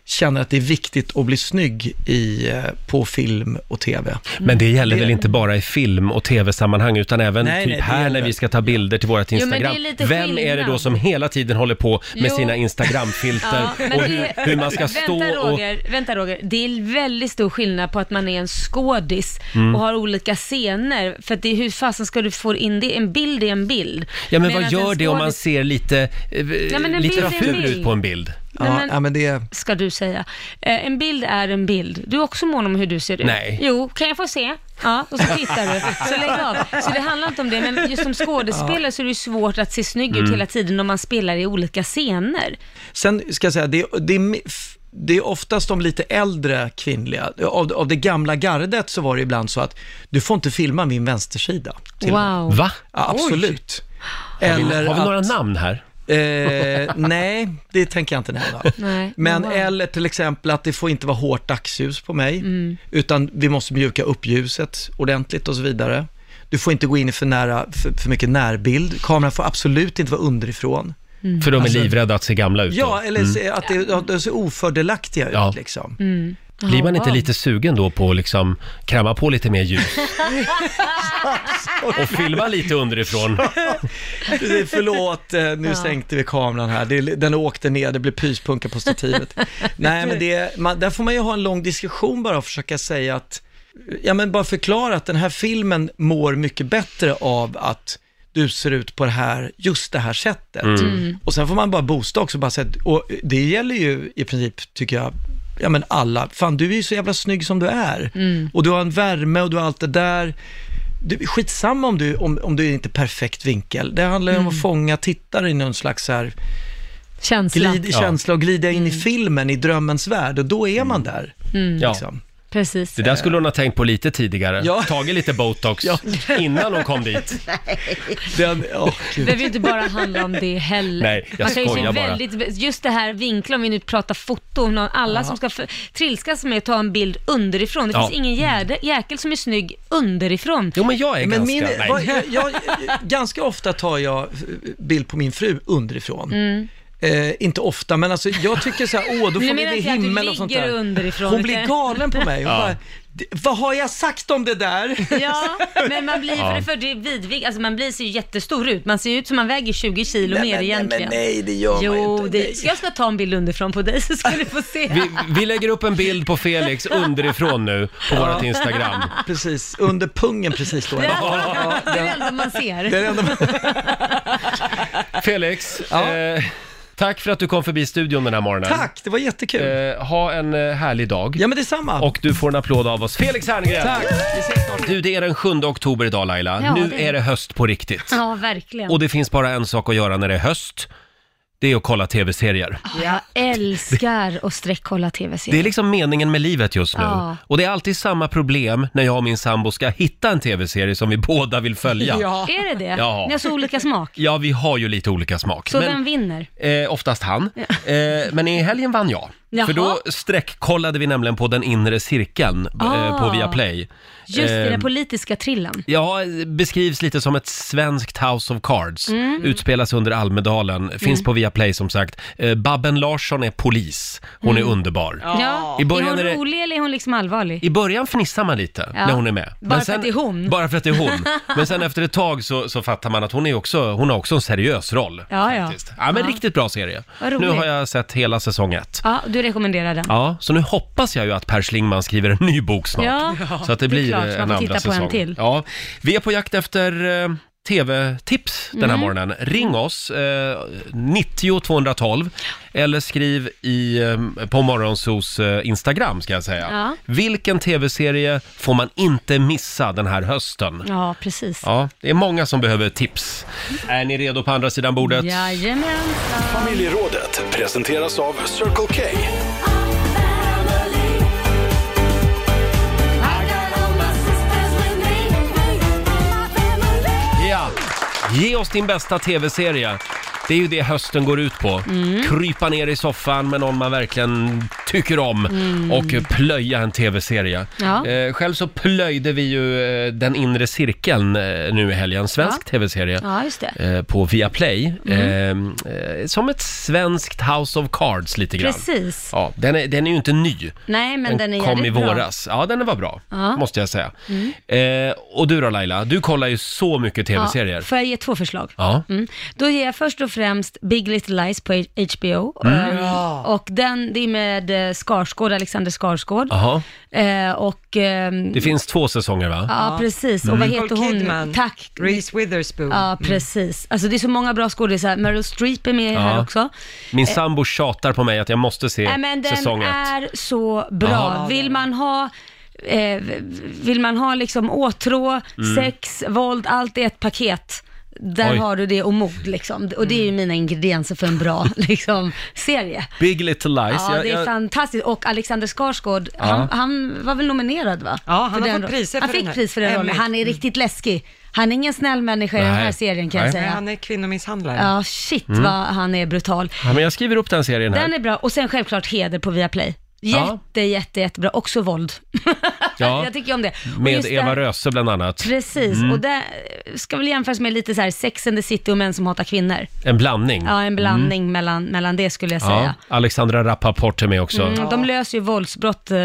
känner att det är viktigt att bli snygg i, eh, på film och tv.
Men det gäller väl inte bara i film och tv-sammanhang utan även
Nej,
typ
nej, det
här när
gäller.
vi ska ta bilder till vårt
Jo, men
Instagram.
det är lite
Vem är det
skillnad.
då som hela tiden håller på med
Jo.
sina Instagram-filter
Ja, men
och
det-
hur, hur man ska stå
vänta,
och...
Roger, Vänta Roger, det är väldigt stor skillnad på att man är en skådis
Mm.
och har olika scener. För att det är, hur fasen ska du få in det? En bild är en bild.
Ja men
Medan
vad
en
gör det om man
skådis-
ser lite, eh,
Ja, men en bild är
lite
en
ful
bild.
ut på en bild?
Nej, Ja, men- ja, men
det...
Ska du säga. Eh, en bild är en bild. Du är också mån om hur du ser ut.
Nej.
Jo, kan jag få se? Ja, och så tittar du. Så lägg av. Så det handlar inte om det, men just som skådespelare så är det ju svårt att se snygg ut
Mm.
hela tiden om man spelar i olika scener.
Sen ska jag säga, det, det, är- det är oftast de lite äldre kvinnliga. Av, av det gamla gardet så var det ibland så att du får inte filma min vänstersida. till och med.
Wow. Va?
Ja, absolut.
Har vi- har vi några
namn
här?
Eh, nej, det tänker jag inte nämna.
Nej,
Men
wow.
eller till exempel att det får inte vara hårt dagsljus på mig,
Mm.
utan vi måste mjuka upp ljuset ordentligt och så vidare. Du får inte gå in i för, nära, för, för mycket närbild. Kameran får absolut inte vara underifrån.
Mm. För de är
Alltså-
livrädda att se gamla ut. då.
Ja, eller
Mm.
se att det, att det ser ofördelaktiga ut
Ja.
liksom.
Mm.
Blir man inte lite sugen då på att liksom krama på lite mer ljus och filma lite underifrån?
Precis, Förlåt, eh, nu
Ja.
sänkte vi kameran här. Det, den åkte ner, det blev pyspunka på stativet. Nej, men det, man, där får man ju ha en lång diskussion bara och försöka säga att, ja men bara förklara att den här filmen mår mycket bättre av att du ser ut på det här, just det här sättet.
Mm. Mm.
Och sen får man bara boosta också, bara säga, och det gäller ju i princip, tycker jag, ja men alla, fan du är ju så jävla snygg som du är.
Mm.
Och du har en värme och du har allt det där. Du, skitsamma om du, om, om du inte är perfekt vinkel. Det handlar ju
Mm.
om att fånga tittare i någon slags så här,
Känsla.
glid, känsla och glida in i filmen, i drömmens värld. Och då är man där. liksom.
Mm.
Ja.
Precis.
Det där skulle hon ha tänkt på lite tidigare.
Ja.
Tagit lite botox innan hon kom dit.
Den,
Det behöver ju inte bara handla om det heller.
Nej, jag
Man kan ju se
skojar bara.
väldigt, just det här vinklar, om vi nu pratar foto, någon, alla
Ja.
som ska för, trilskas med att ta en bild underifrån. Det
Ja. Mm.
finns ingen jäde, jäkel som är snygg underifrån.
Jo, men jag är
Men min, vad, jag, jag, ganska ofta tar jag eh, bild på min fru underifrån.
Mm.
Eh, inte ofta, men alltså, jag tycker så här, åh, då
Nu
får vi
menar
det
inte jag att du
himmel och sånt
ligger
där.
underifrån,
Hon
okej?
blir galen på mig. Hon
Ja.
bara, "D- vad har jag sagt om det där?
Ja, men man blir
Ja.
för det för det är vidvig, alltså man blir ser ju jättestor ut. Man ser ju ut som man väger 20 kilo
Nej,
mer
men- nej,
egentligen.
men nej, det gör man
jo,
ju inte.
Det, så jag ska ta en bild underifrån på dig så ska du få se.
Vi, vi lägger upp en bild på Felix underifrån nu på
Ja.
vårt Instagram.
Precis, under pungen precis då.
Ja, det är det enda man ser.
Det är det enda man-
Felix, eh, tack för att du kom förbi studion den här morgonen.
Tack, det var jättekul.
Eh, ha en eh, härlig dag.
Ja, men detsamma.
Och du får en applåd av oss. Felix Herngren!
Tack. Vi ses snart.
Du, det är den 7 oktober idag Laila.
Ja,
nu
det är
är det höst på riktigt.
Ja, verkligen.
Och det finns bara en sak att göra när det är höst. Det är att kolla tv-serier.
Jag älskar att sträckkolla tv-serier.
Det är liksom meningen med livet just nu.
Ja.
Och det är alltid samma problem när jag och min sambo ska hitta en tv-serie som vi båda vill följa.
Är det det?
Ja.
Ni har så olika smak.
Ja, vi har ju lite olika smak.
Så
Men-
vem vinner?
Eh, oftast han. Eh, men i helgen vann jag.
Jaha.
För då sträckkollade vi nämligen på den inre cirkeln eh,
Ah.
på Viaplay.
Just det,
Eh,
den politiska trillan.
Ja, beskrivs lite som ett svenskt House of Cards.
Mm.
Utspelas under Almedalen. Finns
Mm.
på Viaplay som sagt. Eh, Babben Larsson är polis. Hon
Mm.
är underbar.
Ja.
I början
är hon
är det-
rolig eller är hon liksom allvarlig?
I början fnissar man lite
Ja.
när hon är med.
Bara för att det är hon.
Bara för att det är hon. Men sen efter ett tag så, så fattar man att hon, är också, hon har också en seriös roll.
Ja, ja.
Ja, men
Ja.
riktigt bra serie.
Vad roligt.
Nu har jag sett hela säsong ett.
Ja, du rekommenderar den.
Ja, så nu hoppas jag ju att Per Schlingmann skriver en ny bok snart.
Ja,
så att det blir
det är klart,
eh,
man
en
får
andra
titta på en
säsong.
till.
Ja, vi är på jakt efter eh, TV-tips den här
Mm.
morgonen. Ring oss, eh, 90 212 eller skriv i, eh, på Morgonsos eh, Instagram ska jag säga.
Ja.
Vilken TV-serie får man inte missa den här hösten?
Ja, precis.
Ja, det är många som behöver tips. Är ni redo på andra sidan bordet?
Jajamensan.
Familjerådet presenteras av Circle K.
Ja! Ge oss din bästa tv-serie. Det är ju det hösten går ut på.
Mm.
Krypa ner i soffan med någon man verkligen tycker om
Mm.
och plöja en tv-serie.
Ja.
Eh, själv så plöjde vi ju eh, Den inre cirkeln eh, nu i helgen, svensk
Ja.
tv-serie.
Ja, just det.
eh, på Viaplay.
Mm.
Eh, eh, som ett svenskt House of Cards lite grann.
Precis.
Ja, den, är, den är ju inte ny.
Nej, men den är
kom i
jävligt bra.
våras. Ja, den var bra,
Ja.
måste jag säga.
Mm.
Eh, och du då Laila, du kollar ju så mycket
Ja,
tv-serier.
får jag ge två förslag?
Ja.
Mm. Då ger jag först och främst Big Little Lies på HBO.
Mm.
Eh,
Bra.
Och den, det är med eh, Skarsgård, Alexander Skarsgård.
Jaha.
Eh, och... ehm,
Det Mm. finns två säsonger va?
Ja, precis. Och vad heter hon? Tack.
Reese Witherspoon.
Ja, precis. Alltså det är så många bra skådisar. Meryl Streep är med i det här
Ja.
också.
Min
Eh,
sambo tjatar på mig att jag måste se
Nej, men den
säsong ett.
är så bra.
Jaha.
Vill man ha eh, vill man ha liksom åtrå,
Mm.
sex, våld, allt i ett paket. Där
Oj. Mm.
har du det och mod liksom. Och det är ju mina ingredienser för en bra liksom, serie.
Big Little Lies.
ja,
Jag-
det är
jag-
fantastiskt. Och Alexander Skarsgård,
Ja.
han, han var väl nominerad va?
Ja, han
För
har
den
fått
ro-
priser
Han
för
fick
den här.
pris för den rollen.
Emmy. Mm.
Han är riktigt läskig. Han är ingen snäll människa i den här
Nej.
serien kan jag
Nej.
säga.
Han är kvinnomisshandlare.
Ja, shit
Mm.
vad han är brutal.
Ja, men jag skriver upp den serien här.
Den är bra. Och sen självklart heder på Viaplay.
Ja.
Jätte, jätte, jättebra. Också våld.
ja.
Jag tycker om det. Och
Med
just
Eva
där-
Röse bland annat.
Precis,
Mm.
och det ska väl jämföras med lite så här Sex and the City och Män som hatar kvinnor.
En blandning.
Ja, en
Mm.
blandning mellan, mellan det skulle jag säga.
Ja. Alexandra Rappaport är med också.
Mm, de löser ju våldsbrott eh,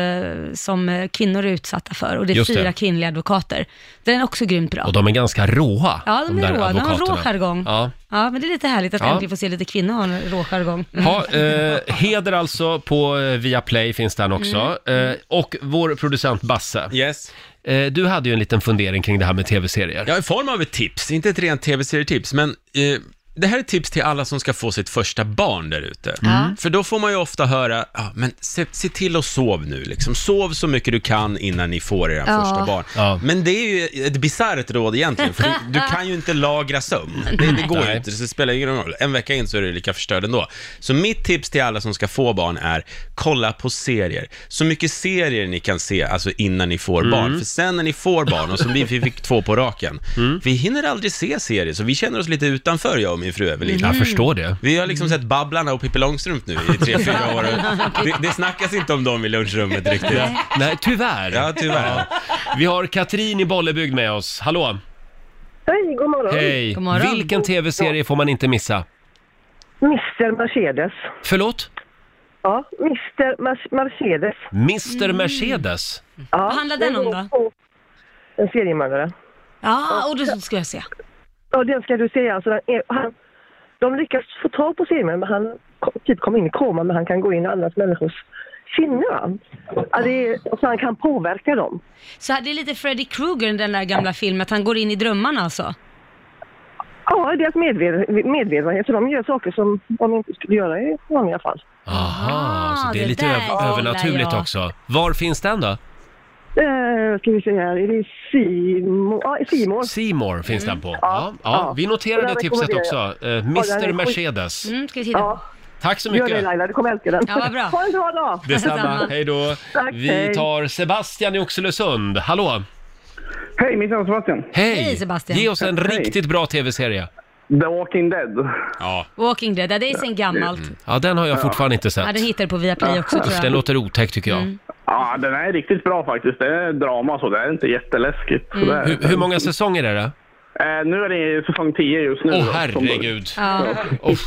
som eh, kvinnor är utsatta för och det är
Just det.
fyra kvinnliga advokater. Den är också grymt bra.
Och de är ganska råa,
Ja, de är
där
råa. De har rå
advokaterna.
jargong.
Ja.
Ja, men det är lite härligt att
Ja.
äntligen få se lite kvinnor ha en rå jargong.
Ja, eh, heder alltså på eh, Viaplay finns den också.
Mm.
Eh, och vår producent Basse.
Yes.
Eh, du hade ju en liten fundering kring det här med tv-serier.
Ja, i form av ett tips, inte ett rent tv-serietips, men eh, det här är ett tips till alla som ska få sitt första barn där ute.
Mm.
För då får man ju ofta höra, ja, men se, se till att sov nu liksom. Sov så mycket du kan innan ni får era
Ja.
första barn. Men det är ju ett bisarrt råd egentligen, för du, du kan ju inte lagra sömn. Det, det går ju
Nej.
inte, så det spelar ingen roll. En vecka in så är du lika förstörd ändå. Så mitt tips till alla som ska få barn är, kolla på serier. Så mycket serier ni kan se, alltså innan ni får
Mm.
barn. För sen när ni får barn, och som vi vi fick två på raken,
Mm.
vi hinner aldrig se serier, så vi känner oss lite utanför, jag och min fru Evelina.
Mm.
Jag förstår det.
Vi har liksom sett Babblarna och Pippi Långstrump nu i tre, fyra år. Det, det snackas inte om dem i lunchrummet riktigt.
Nej, nej, tyvärr.
Ja, tyvärr.
Vi har Katrin i Bollebygd med oss. Hallå!
Hej, god morgon.
Hej! Vilken tv-serie får man inte missa?
Mr Mercedes.
Förlåt?
Ja, Mr Mer- Mercedes.
Mr
Mm.
Mercedes?
Ja,
Vad handlar den om då?
på En seriemördare.
Ja, och det ska jag se.
Ja, den ska du se. Alltså, den är, han, de lyckas få tag på seriemördaren, men han kom, typ kom in i koma, men han kan gå in i andra människors sinne. va? Ja, det är, och så han kan påverka dem.
Så här, det är lite Freddy Krueger i den där gamla filmen, att han går in i drömmarna alltså.
Ja, i deras medvet- medvetenhet, så de gör saker som de inte skulle göra i vanliga fall.
Aha, så det är
det
lite
där
öv-
gillar
övernaturligt
jag.
också. Var finns den då?
Eh, ska vi se här, är det Simon? Ja, Simon.
Seymour finns den på. Ja, ja,
Mm. ja.
vi noterar
Och
det
den
tipset
rekommenderar
också.
jag.
Eh,
Ja, den är
Mr
skit-
Mercedes.
Mm, ska vi titta på.
Tack så
Gör det
mycket.
Laila, du kommer älska den.
Ja, vad bra.
Ha en bra dag!
Detsamma. Hej då.
Tack,
Vi
hej.
tar Sebastian i Oxelösund. Hallå!
Hej, mitt namn är Sebastian.
Hej!
Hej, Sebastian.
Ge oss en
Hej.
riktigt bra tv-serie.
The Walking Dead.
Ja.
Walking Dead, ja, det är sen gammalt.
ja, Mm. den har jag
Ja.
fortfarande inte
Ja,
sett.
den Mm. hittar du på Viaplay också tror
Usch,
jag.
den låter otäck tycker jag.
Ja, den är riktigt bra faktiskt. Det är drama så det är inte jätteläskigt. Så
Mm.
det är-
Hur, hur många säsonger är det?
Eh, nu är det säsong 10 just nu.
Åh,
då, som
herregud.
Ja.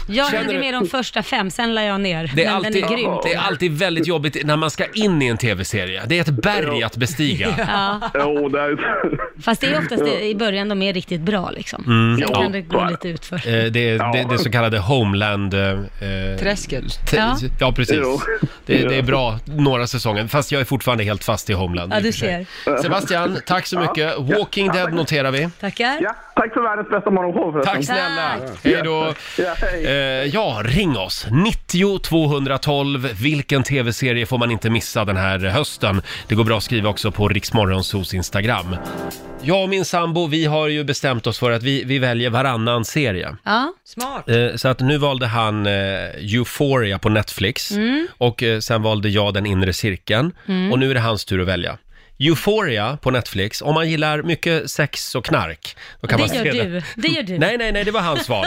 Jag
känner
gjorde
du-
med de första fem, sen la jag ner.
Det är,
men
alltid,
den är grym.
det är alltid väldigt jobbigt när man ska in i en tv-serie. Det är ett berg att bestiga.
Ja.
Jo, det är...
Fast det är oftast det, i början de är riktigt bra liksom.
Mm.
Sen
Ja,
kan det
så
gå
är det.
lite utför.
Eh, Det, är- det, det så kallade homeland... Eh,
Träsket.
te-
Ja.
ja, precis.
Jo.
Det, det är bra några säsonger, fast jag är fortfarande helt fast i homeland.
Ja,
i och
du
för sig.
ser.
Sebastian, tack så mycket. Walking Dead noterar vi.
Tackar.
Ja, tack för världens bästa morgonshow förresten.
Tack snälla. Hej då.
Ja, hej.
Eh, ja, ring oss. 90 212. Vilken tv-serie får man inte missa den här hösten? Det går bra att skriva också på Riksmorgonsos Instagram. Jag och min sambo, vi har ju bestämt oss för att vi, vi väljer varannan serie.
Ja. Smart.
Eh, Så att nu valde han eh, Euphoria på Netflix
Mm.
och eh, sen valde jag Den inre cirkeln
Mm.
och nu är det hans tur att välja. Euphoria på Netflix. Om man gillar mycket sex och knark. Då kan
det
man se
gör
den.
du. Det gör du.
Nej, nej, nej, det var hans val.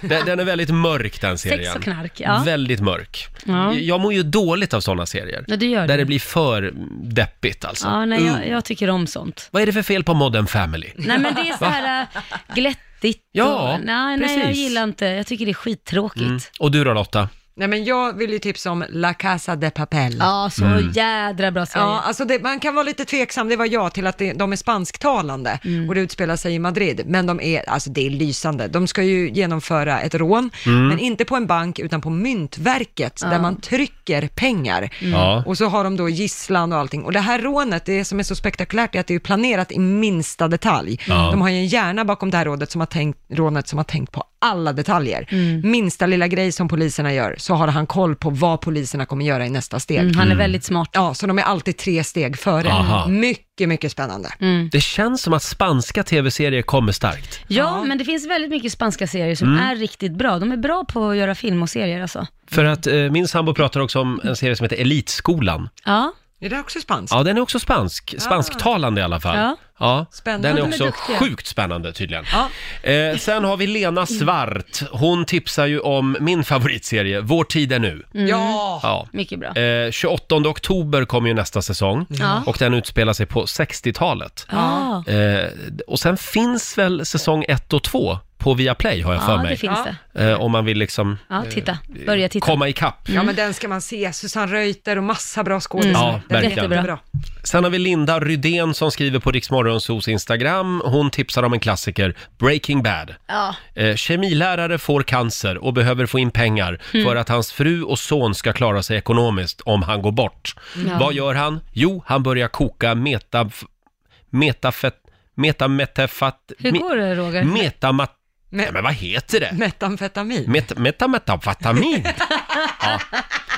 Den, den är väldigt mörk den
Sex och
serien.
knark, ja.
Väldigt mörk.
Ja.
Jag mår ju dåligt av sådana serier.
Ja, det gör
Där
du.
det blir för deppigt alltså.
Ja, nej, jag,
Mm.
jag tycker om sånt.
Vad är det för fel på Modern Family?
Nej, men det är så
Va?
här äh, glättigt
Ja,
och, nej, nej, jag
precis.
gillar inte. Jag tycker det är skittråkigt.
Mm. Och du då Lotta?
Nej men jag vill ju tipsa om La Casa de Papel.
Ja, så
Mm.
jädra bra serie.
Ja, alltså det, man kan vara lite tveksam, det var jag, till att det, de är spansktalande och det utspelar sig i Madrid. Men de är, alltså det är lysande. De ska ju genomföra ett rån,
Mm.
men inte på en bank utan på Myntverket
Ja.
där man trycker pengar.
Mm. Ja.
Och så har de då gisslan och allting. Och det här rånet, det som är så spektakulärt är att det är ju planerat i minsta detalj.
Ja.
De har ju en hjärna bakom det här rådet som har tänkt, rånet som har tänkt på alla detaljer.
Mm.
Minsta lilla grej som poliserna gör, så har han koll på vad poliserna kommer göra i nästa steg.
Mm, han är Mm. väldigt smart.
Ja, så de är alltid tre steg före.
Aha.
Mycket, mycket spännande.
Mm.
Det känns som att spanska tv-serier kommer starkt.
Ja, men det finns väldigt mycket spanska serier som
Mm.
är riktigt bra. De är bra på att göra film och serier alltså.
För att eh, min sambo pratar också om en serie som heter Elitskolan.
Ja.
Är det också spanskt?
Ja, den är också spansk. Spansktalande i alla fall.
Ah. Ja.
Spännande.
Den
Ja,
är
de är
också
duktiga.
sjukt spännande tydligen. Eh, sen har vi
Mm.
Lena Svart. Hon tipsar ju om min favoritserie, Vår tid är nu.
Mm.
Ja.
Ja.
Mycket bra.
Eh, 28 oktober kommer ju nästa säsong
Ja.
och den utspelar sig på 60-talet.
Ja.
Eh, och sen finns väl säsong 1 och 2 på Viaplay har jag
Ja,
för
det
mig.
finns
det. Eh, om man vill liksom
Ja,
eh,
titta. Börja titta.
komma ikapp.
Ja, men den ska man se. Susanne Reuter och massa bra skådespelare.
Ja,
Den är
verkligen.
jättebra.
Sen har vi Linda Rydén som skriver på Riksmorgonsos Instagram. Hon tipsar om en klassiker, Breaking Bad.
Ja.
Eh, kemilärare får cancer och behöver få in pengar
Mm.
för att hans fru och son ska klara sig ekonomiskt om han går bort.
Mm. Ja.
Vad gör han? Jo, han börjar koka metaf... metafet... metametafat...
Hur går det Roger?
Metamat... Nej, men vad heter det?
Metamfetamin.
Met... Metametamin? ja.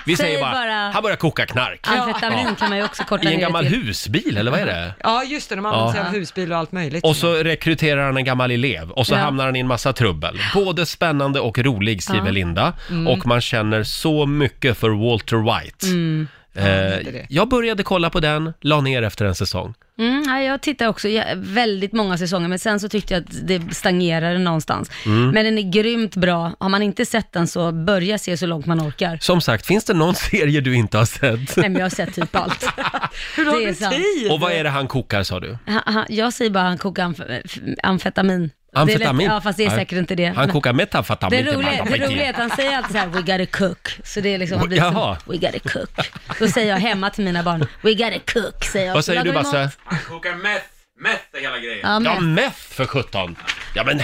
Vi
Säg
säger bara,
bara-
han börjar koka knark.
Amfetamin
Ja.
kan man ju också korta
I en
ner det
gammal
till.
husbil, eller vad är det?
Ja, just det. De använder
Ja.
sig av husbil och allt möjligt.
Och så rekryterar han en gammal elev och så
Ja.
hamnar han i en massa trubbel. Både spännande och rolig, skriver
Ja.
Linda.
Mm.
Och man känner så mycket för Walter White.
Mm.
Eh, jag började kolla på den, la ner efter en säsong.
Mm, nej, jag tittar också ja, väldigt många säsonger, men sen så tyckte jag att det stagnerade någonstans.
Mm.
Men den är grymt bra. Har man inte sett den så börja se så långt man orkar.
Som sagt, finns det någon serie du inte har sett?
Nej, men jag har sett typ allt. Hur
har
du
Och vad är det han kokar, sa du?
Han, han, jag säger bara han kokar amf- f- amfetamin. Det är
Amfetamin?
lätt, ja, fast det är
Nej.
säkert inte det.
Han
Men-
kokar metafetamin.
det
till
roliga, det
Malcolm
roliga är att han säger alltid så här, we gotta cook. Så det är liksom, han blir
Jaha.
som, we gotta cook. Då säger jag hemma till mina barn, we gotta cook, säger jag.
Vad säger du,
Lagar vi
Basse?
mat?
Han kokar meth. Meth är hela grejen.
Ja,
Ja,
meth.
meth för sjutton! Ja, men...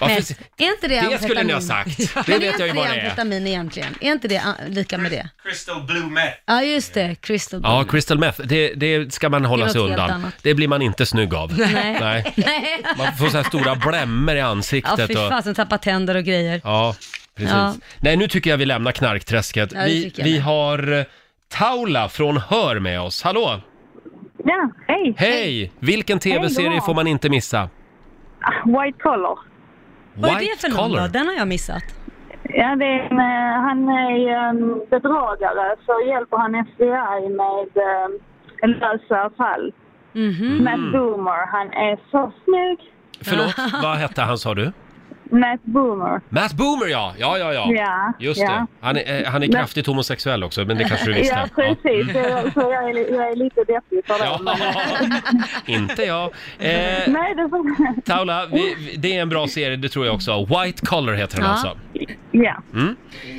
Varför...
Meth. Är inte det
Det skulle ni ha
amfetamin?
sagt.
Men
Det vet jag ju
inte
vad det är.
amfetamin egentligen? Är inte det ah, lika med det?
Crystal blue meth.
Ja, just det. Crystal
Ja, crystal meth, det, det ska man hålla
något
sig
helt
undan.
annat.
Det blir man inte snygg av.
Nej.
Nej.
Nej.
Man får så här stora blämmor i
Ja,
ansiktet.
fy
och...
fasen, tappa tänder och grejer.
ja precis.
Ja.
Nej, nu tycker jag vi lämnar knarkträsket.
Ja, det
vi,
tycker jag
vi
med.
har eh, Paula från Hör med oss. Hallå!
Ja, hej.
Hej! Vilken
Hej,
tv-serie
god
får man inte missa?
Ah, White Collar.
Vad är det för någon då? Den har jag missat.
Ja, det är en, eh, han är en bedragare så hjälper han FBI med eh, lösa fall.
Mhm.
Mm-hmm.
Matt Boomer, han är så snygg.
Förlåt, vad hette han sa du?
Matt Boomer.
Matt Boomer ja! Ja, ja, ja.
Ja,
Just
ja.
det. Han är, eh, han är
Men-
kraftigt homosexuell också, men det kanske du visste?
Ja, precis. Så, så jag, är, li- jag är lite deppig för det.
Ja.
men, eh,
Inte jag. Eh,
Nej, det får...
Paula, vi, vi- det är en bra serie, det tror jag också. White Collar heter den
Ja.
alltså.
Ja.
Mm.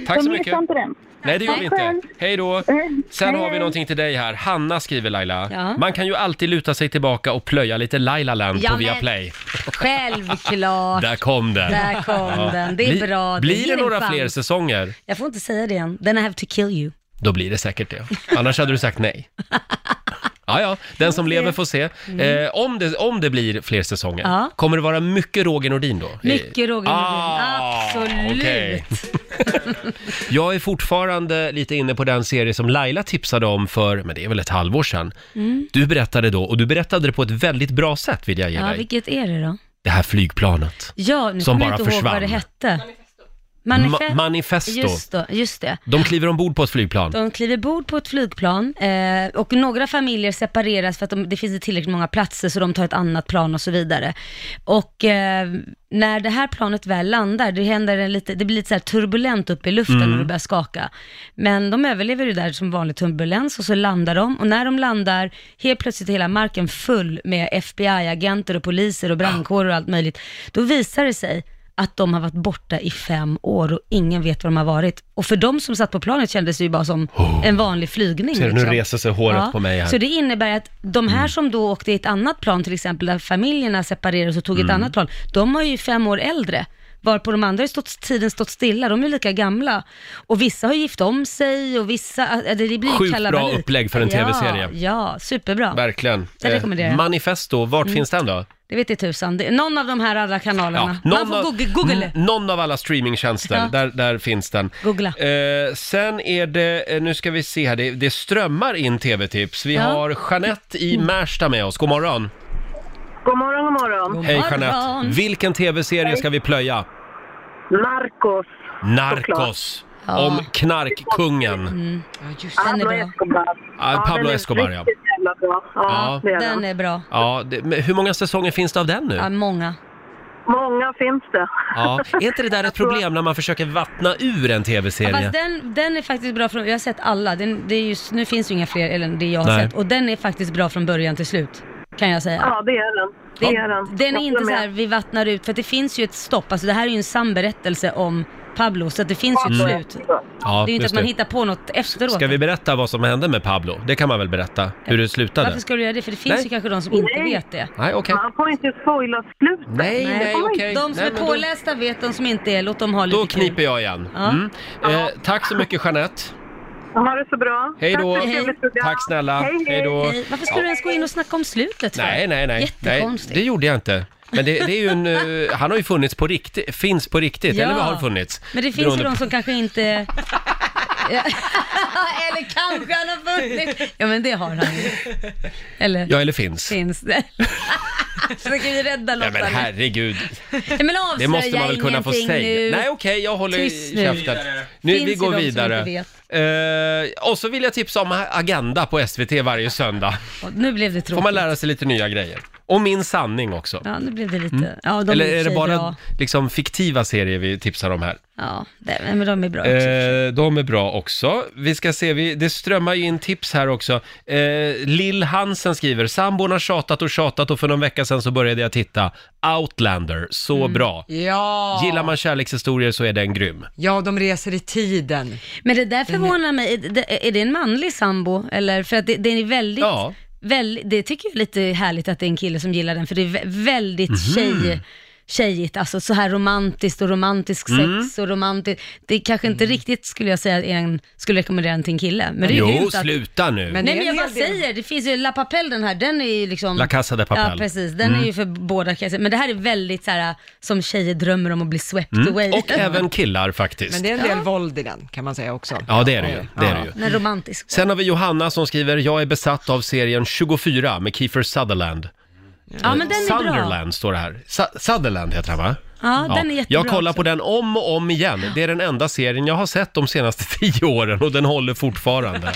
Tack
så
så
missa
mycket.
inte den.
Nej, det gör
Tack
vi inte.
själv. Eh,
Hej då. Sen har vi någonting till dig här. Hanna skriver Laila.
Ja.
Man kan ju alltid luta sig tillbaka och plöja lite Lailaland
Ja,
på
men-
Viaplay.
Självklart.
Där kom den.
Där kom den. Det är
Bli-
bra. Det
Blir
ger
det
en
några
chans.
fler säsonger,
Jag får inte säga det än. Then I have to kill you.
då blir det säkert det. Annars hade du sagt nej. Ja, ja, den som lever får se.
Mm.
Eh, om, det, om det blir fler säsonger,
Ja.
kommer det vara mycket Roger Nordin då?
Mycket Roger
Ah,
Nordin. Absolut.
okej. Jag är fortfarande lite inne på den serie som Laila tipsade om för, men det är väl ett halvår sedan.
Mm.
Du berättade då, och du berättade det på ett väldigt bra sätt vill jag ge
Ja,
dig.
vilket är det då?
Det här flygplanet.
Ja, nu
Som
kommer jag
bara
inte ihåg
försvann.
vad det hette.
Ma- manifesto.
Just, då, just det.
De kliver ombord på ett flygplan.
De kliver bord på ett flygplan eh, och några familjer separeras för att de, det finns inte tillräckligt många platser så de tar ett annat plan och så vidare. Och eh, när det här planet väl landar, det, händer en lite, det blir lite så här turbulent uppe i luften
Mm.
och det börjar skaka. Men de överlever ju där som vanlig turbulens och så landar de och när de landar, helt plötsligt är hela marken full med FBI-agenter och poliser och brandkårer och allt möjligt. Då visar det sig att de har varit borta i fem år och ingen vet var de har varit. Och för de som satt på planet kändes det ju bara som en vanlig flygning.
Oh.
liksom.
Ser du, nu reser sig håret på mig här. Mm.
Så det innebär att de här som då åkte i ett annat plan, till exempel där familjerna separerades och tog ett
Mm.
annat plan, de var ju fem år äldre. Varpå de andra har ju stått, tiden stått stilla, de är ju lika gamla. Och vissa har gift om sig och vissa, äh, det blir ju
Sjukt bra
kalabalik.
upplägg för en tv-serie.
Ja, ja superbra.
Verkligen.
Den
Eh,
rekommenderar jag.
manifesto, vart
Mm.
finns den då?
Det vet inte tusan, det, någon av de här alla kanalerna. Man får googla. googla.
n- någon av alla streamingtjänster,
Ja.
där, där finns den.
Googla.
Eh, sen är det, eh, nu ska vi se här, det, det strömmar in tv-tips. Vi
Ja.
har Jeanette i Märsta med oss, god morgon.
God morgon, god morgon.
Hej Jeanette. Vilken tv-serie ska vi plöja?
Narcos.
Narcos.
Ja.
Om knarkkungen.
Mm.
Pablo Escobar.
Ja, Pablo
den är
Escobar, ja.
riktigt jävla bra.
Ja.
Ja, det
Den är bra.
Ja, det, men hur många säsonger finns det av den nu?
Ja, många.
Många finns det.
Ja. Är inte det där ett problem när man försöker vattna ur en
Ja,
tv-serie?
fast den, den är faktiskt bra från, jag har sett alla, den, det är just, nu finns ju inga fler eller det jag har
Nej.
sett och den är faktiskt bra från början till slut kan jag säga.
Ja, det är den. Det är den.
Den är
Jag
inte så
håller
här
med.
vi vattnar ut för att det finns ju ett stopp, alltså det här är ju en sann berättelse om Pablo så att det finns ju
Mm.
ett slut.
Ja,
det är ju inte
just
att man
det.
hittar på något efteråt.
Ska vi berätta vad som hände med Pablo? Det kan man väl berätta, hur det slutade?
Varför ska du göra det? För det finns
Nej.
ju kanske de som inte vet det.
Nej, okej.
Man får inte spoila slutet.
Nej, nej, okej.
De som
Nej,
är
men då-
pålästa vet, de som inte är, låt dem ha lite
Då
kul.
kniper jag igen.
Ja.
Mm. Eh, tack så mycket Jeanette.
Ha det så bra.
Hej då.
Tack för ett trevligt program.
Tack snälla.
Hej, hej.
Hej då.
Hej. Varför skulle
Ja.
du ens gå in och snacka om slutet för?
Nej, nej, nej. nej.
Jättekonstigt.
Det gjorde jag inte. Men det, det är ju en, eh, han har ju funnits på riktigt, finns på riktigt,
Ja.
eller har funnits.
Men det finns
Beroende
ju de
på-
som kanske inte... Ja. Eller kanske han har funnits. Ja men det har han ju. Eller?
Ja, eller finns.
Finns det. Försöker vi rädda
Nej
Lotta
men
nu?
herregud.
Nej, men avslöja
Det måste man väl kunna få
ingenting
säga.
Nu.
Nej okej, jag håller
Tyst nu.
käften. Nu,
Finns
vi
ju de
går
som
vidare.
inte vet.
Eh, och så vill jag tipsa om Agenda på SVT varje söndag.
Och Nu blev det
Får
tråkigt.
man lära sig lite nya grejer. Och Min sanning också.
Ja, nu blev det lite... Ja, de
Mm. Eller är det
sig
bara
Bra.
liksom fiktiva serier vi tipsar om här?
Ja, det, men de är bra också.
Eh, de är bra också. Vi ska se, vi, det strömmar ju in tips här också. Eh, Lill Hansen skriver, sambon har tjatat och tjatat och för någon vecka sedan så började jag titta. Outlander, så
Mm.
bra.
Ja.
Gillar man kärlekshistorier så är den grym.
Ja, de reser i tiden.
Men det där förvånar mig. Är det, är det en manlig sambo? Eller, för att det, den är väldigt...
Ja.
väl- det tycker jag är lite härligt att det är en kille som gillar den, för det är vä-
Mhm.
väldigt tjej, tjejigt. Alltså så här romantiskt och romantisk sex
Mm.
och romantiskt. Det är kanske inte riktigt, skulle jag säga, är en, skulle rekommendera den till en kille. Men det är ju
jo,
grymt att,
sluta nu.
Nej men jag bara säger, det finns ju La Papel den här, den är ju liksom...
La Casa de Papel.
Ja precis, den
Mm.
är ju för båda klasser. Men det här är väldigt så här som tjejer drömmer om att bli swept away.
Mm. Och även killar faktiskt.
Men det är en del
Ja.
våld i den, kan man säga också.
Ja, det är det ju. Det är det ju.
Men romantisk.
Sen har vi Johanna som skriver, jag är besatt av serien 24 med Kiefer Sutherland.
Ja men den är bra.
Sunderland står det här. Su- Sutherland heter han va?
Ja, den är jättebra
Jag kollar på
också.
den om och om igen. Det är den enda serien jag har sett de senaste tio åren och den håller fortfarande.
Den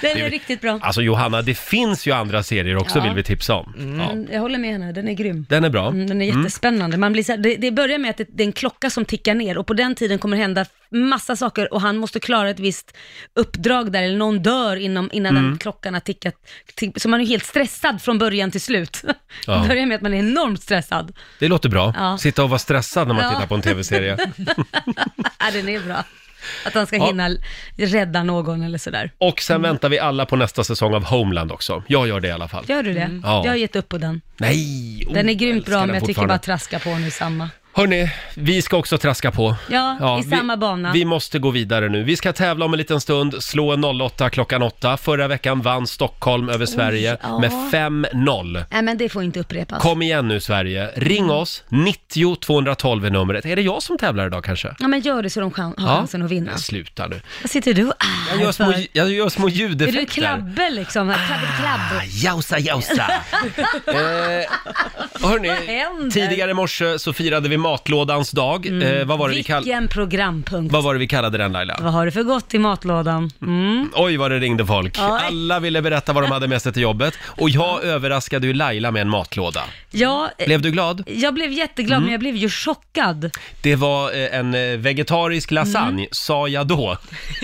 Det
är
är-
riktigt bra.
Alltså Johanna, det finns ju andra serier också
Ja.
vill vi tipsa om. Ja.
Mm, Jag håller med henne, den är grym.
Den är bra.
Mm, den är
Mm.
jättespännande. Man blir så här, det, det börjar med att det, det är en klocka som tickar ner och på den tiden kommer det hända massa saker och han måste klara ett visst uppdrag där, eller någon dör inom, innan
Mm.
den klockan har tickat. Tick, så man är helt stressad från början till slut.
Ja.
Det börjar med att man är enormt stressad.
Det låter bra.
Ja.
Sitta och vara stressad när man
Ja.
tittar på en tv-serie.
ja, den är bra. Att han ska
Ja.
hinna l- rädda någon eller sådär.
Och sen väntar vi alla på nästa säsong av Homeland också. Jag gör det i alla fall.
Gör du det?
Mm. Ja.
Jag har gett upp på den.
Nej! Oh,
Den är grymt
älskar
bra,
den
men jag tycker
fortfarande.
bara traska på nu samma.
Hörni, vi ska också traska på.
Ja, i
vi-
samma bana.
Vi måste gå vidare nu. Vi ska tävla om en liten stund, slå en 08 klockan 8. Förra veckan vann Stockholm över Sverige
ja.
med 5-0.
Nej, men det får inte upprepas.
Kom igen nu Sverige, ring oss, 90 212 är numret. Är det jag som tävlar idag kanske?
Ja, men gör det så de chan- har chansen att vinna.
Nej, Sluta nu.
Vad sitter du och är
Jag gör små, Ah,
för?
jag gör små
Är
ljudeffekter.
du krabbe liksom? Här, Krabbet klabb.
Jausa, jausa. eh, hörni,
Vad händer? Mm.
tidigare i morse så firade vi matlådans dag. Eh, vad, var det vi kall-
Vilken programpunkt.
vad var det vi kallade den Laila?
Vad har du för gott i matlådan? Mm.
Oj, vad det ringde folk.
Ja.
Alla ville berätta vad de hade med sig till jobbet. Och jag överraskade ju Laila med en matlåda.
Ja, eh,
Blev du glad?
jag blev jätteglad,
Mm.
men jag blev ju chockad.
Det var eh, en eh, vegetarisk
Mm.
lasagne, sa jag då.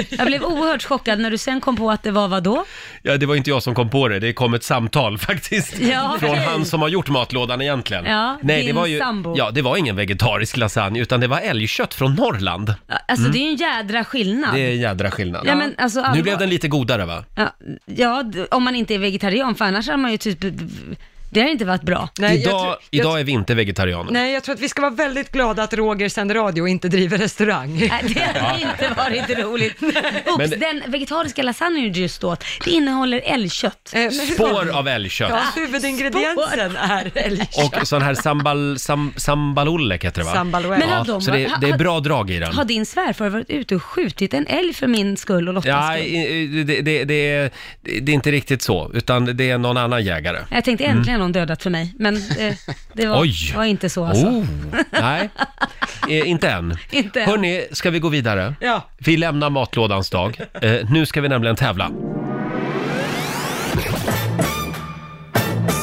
Jag blev oerhört chockad när du sen kom på att det var vad då?
Ja, det var inte jag som kom på det, det kom ett samtal faktiskt.
Ja,
från
okej.
han som har gjort matlådan egentligen.
Ja,
Nej, det
din
var ju,
sambo.
Ja, det var ingen vegetarisk lasagne, utan det var älgkött från Norrland.
Alltså
Mm.
det är ju en jädra skillnad.
Det är en jädra skillnad.
Ja, men alltså,
nu
allvar-
blev den lite godare va?
Ja, ja, d- om man inte är vegetarian, för annars hade man ju typ... Det har inte varit bra.
idag idag är vi inte vegetarianer.
Nej, jag tror att vi ska vara väldigt glada att Roger sänder radio och inte driver restaurang.
Nej, det hade inte varit roligt. Oops,
Men det-
den vegetariska lasagnen du just åt, det innehåller älgkött. Ah,
Spår av älgkött.
Ja, Eh, huvudingrediensen är älgkött.
Och sån här sambal, sam, sambalollek heter det va?
Sambalollek. Men har de-
så det, det är bra drag i den.
Har din svärfar varit ute och skjutit en älg för min skull och Lottas
Ja,
skull?
i- i- det, det, det, är, det är inte riktigt så, utan det är någon annan jägare.
Jag tänkte
Mm.
äntligen någon dödat för mig, men eh, det
Oj.
var, var inte så alltså.
Oh, nej, eh, inte än.
Inte än.
Hörni, ska vi gå vidare?
Ja.
Vi lämnar matlådans dag. Eh, nu ska vi nämligen tävla.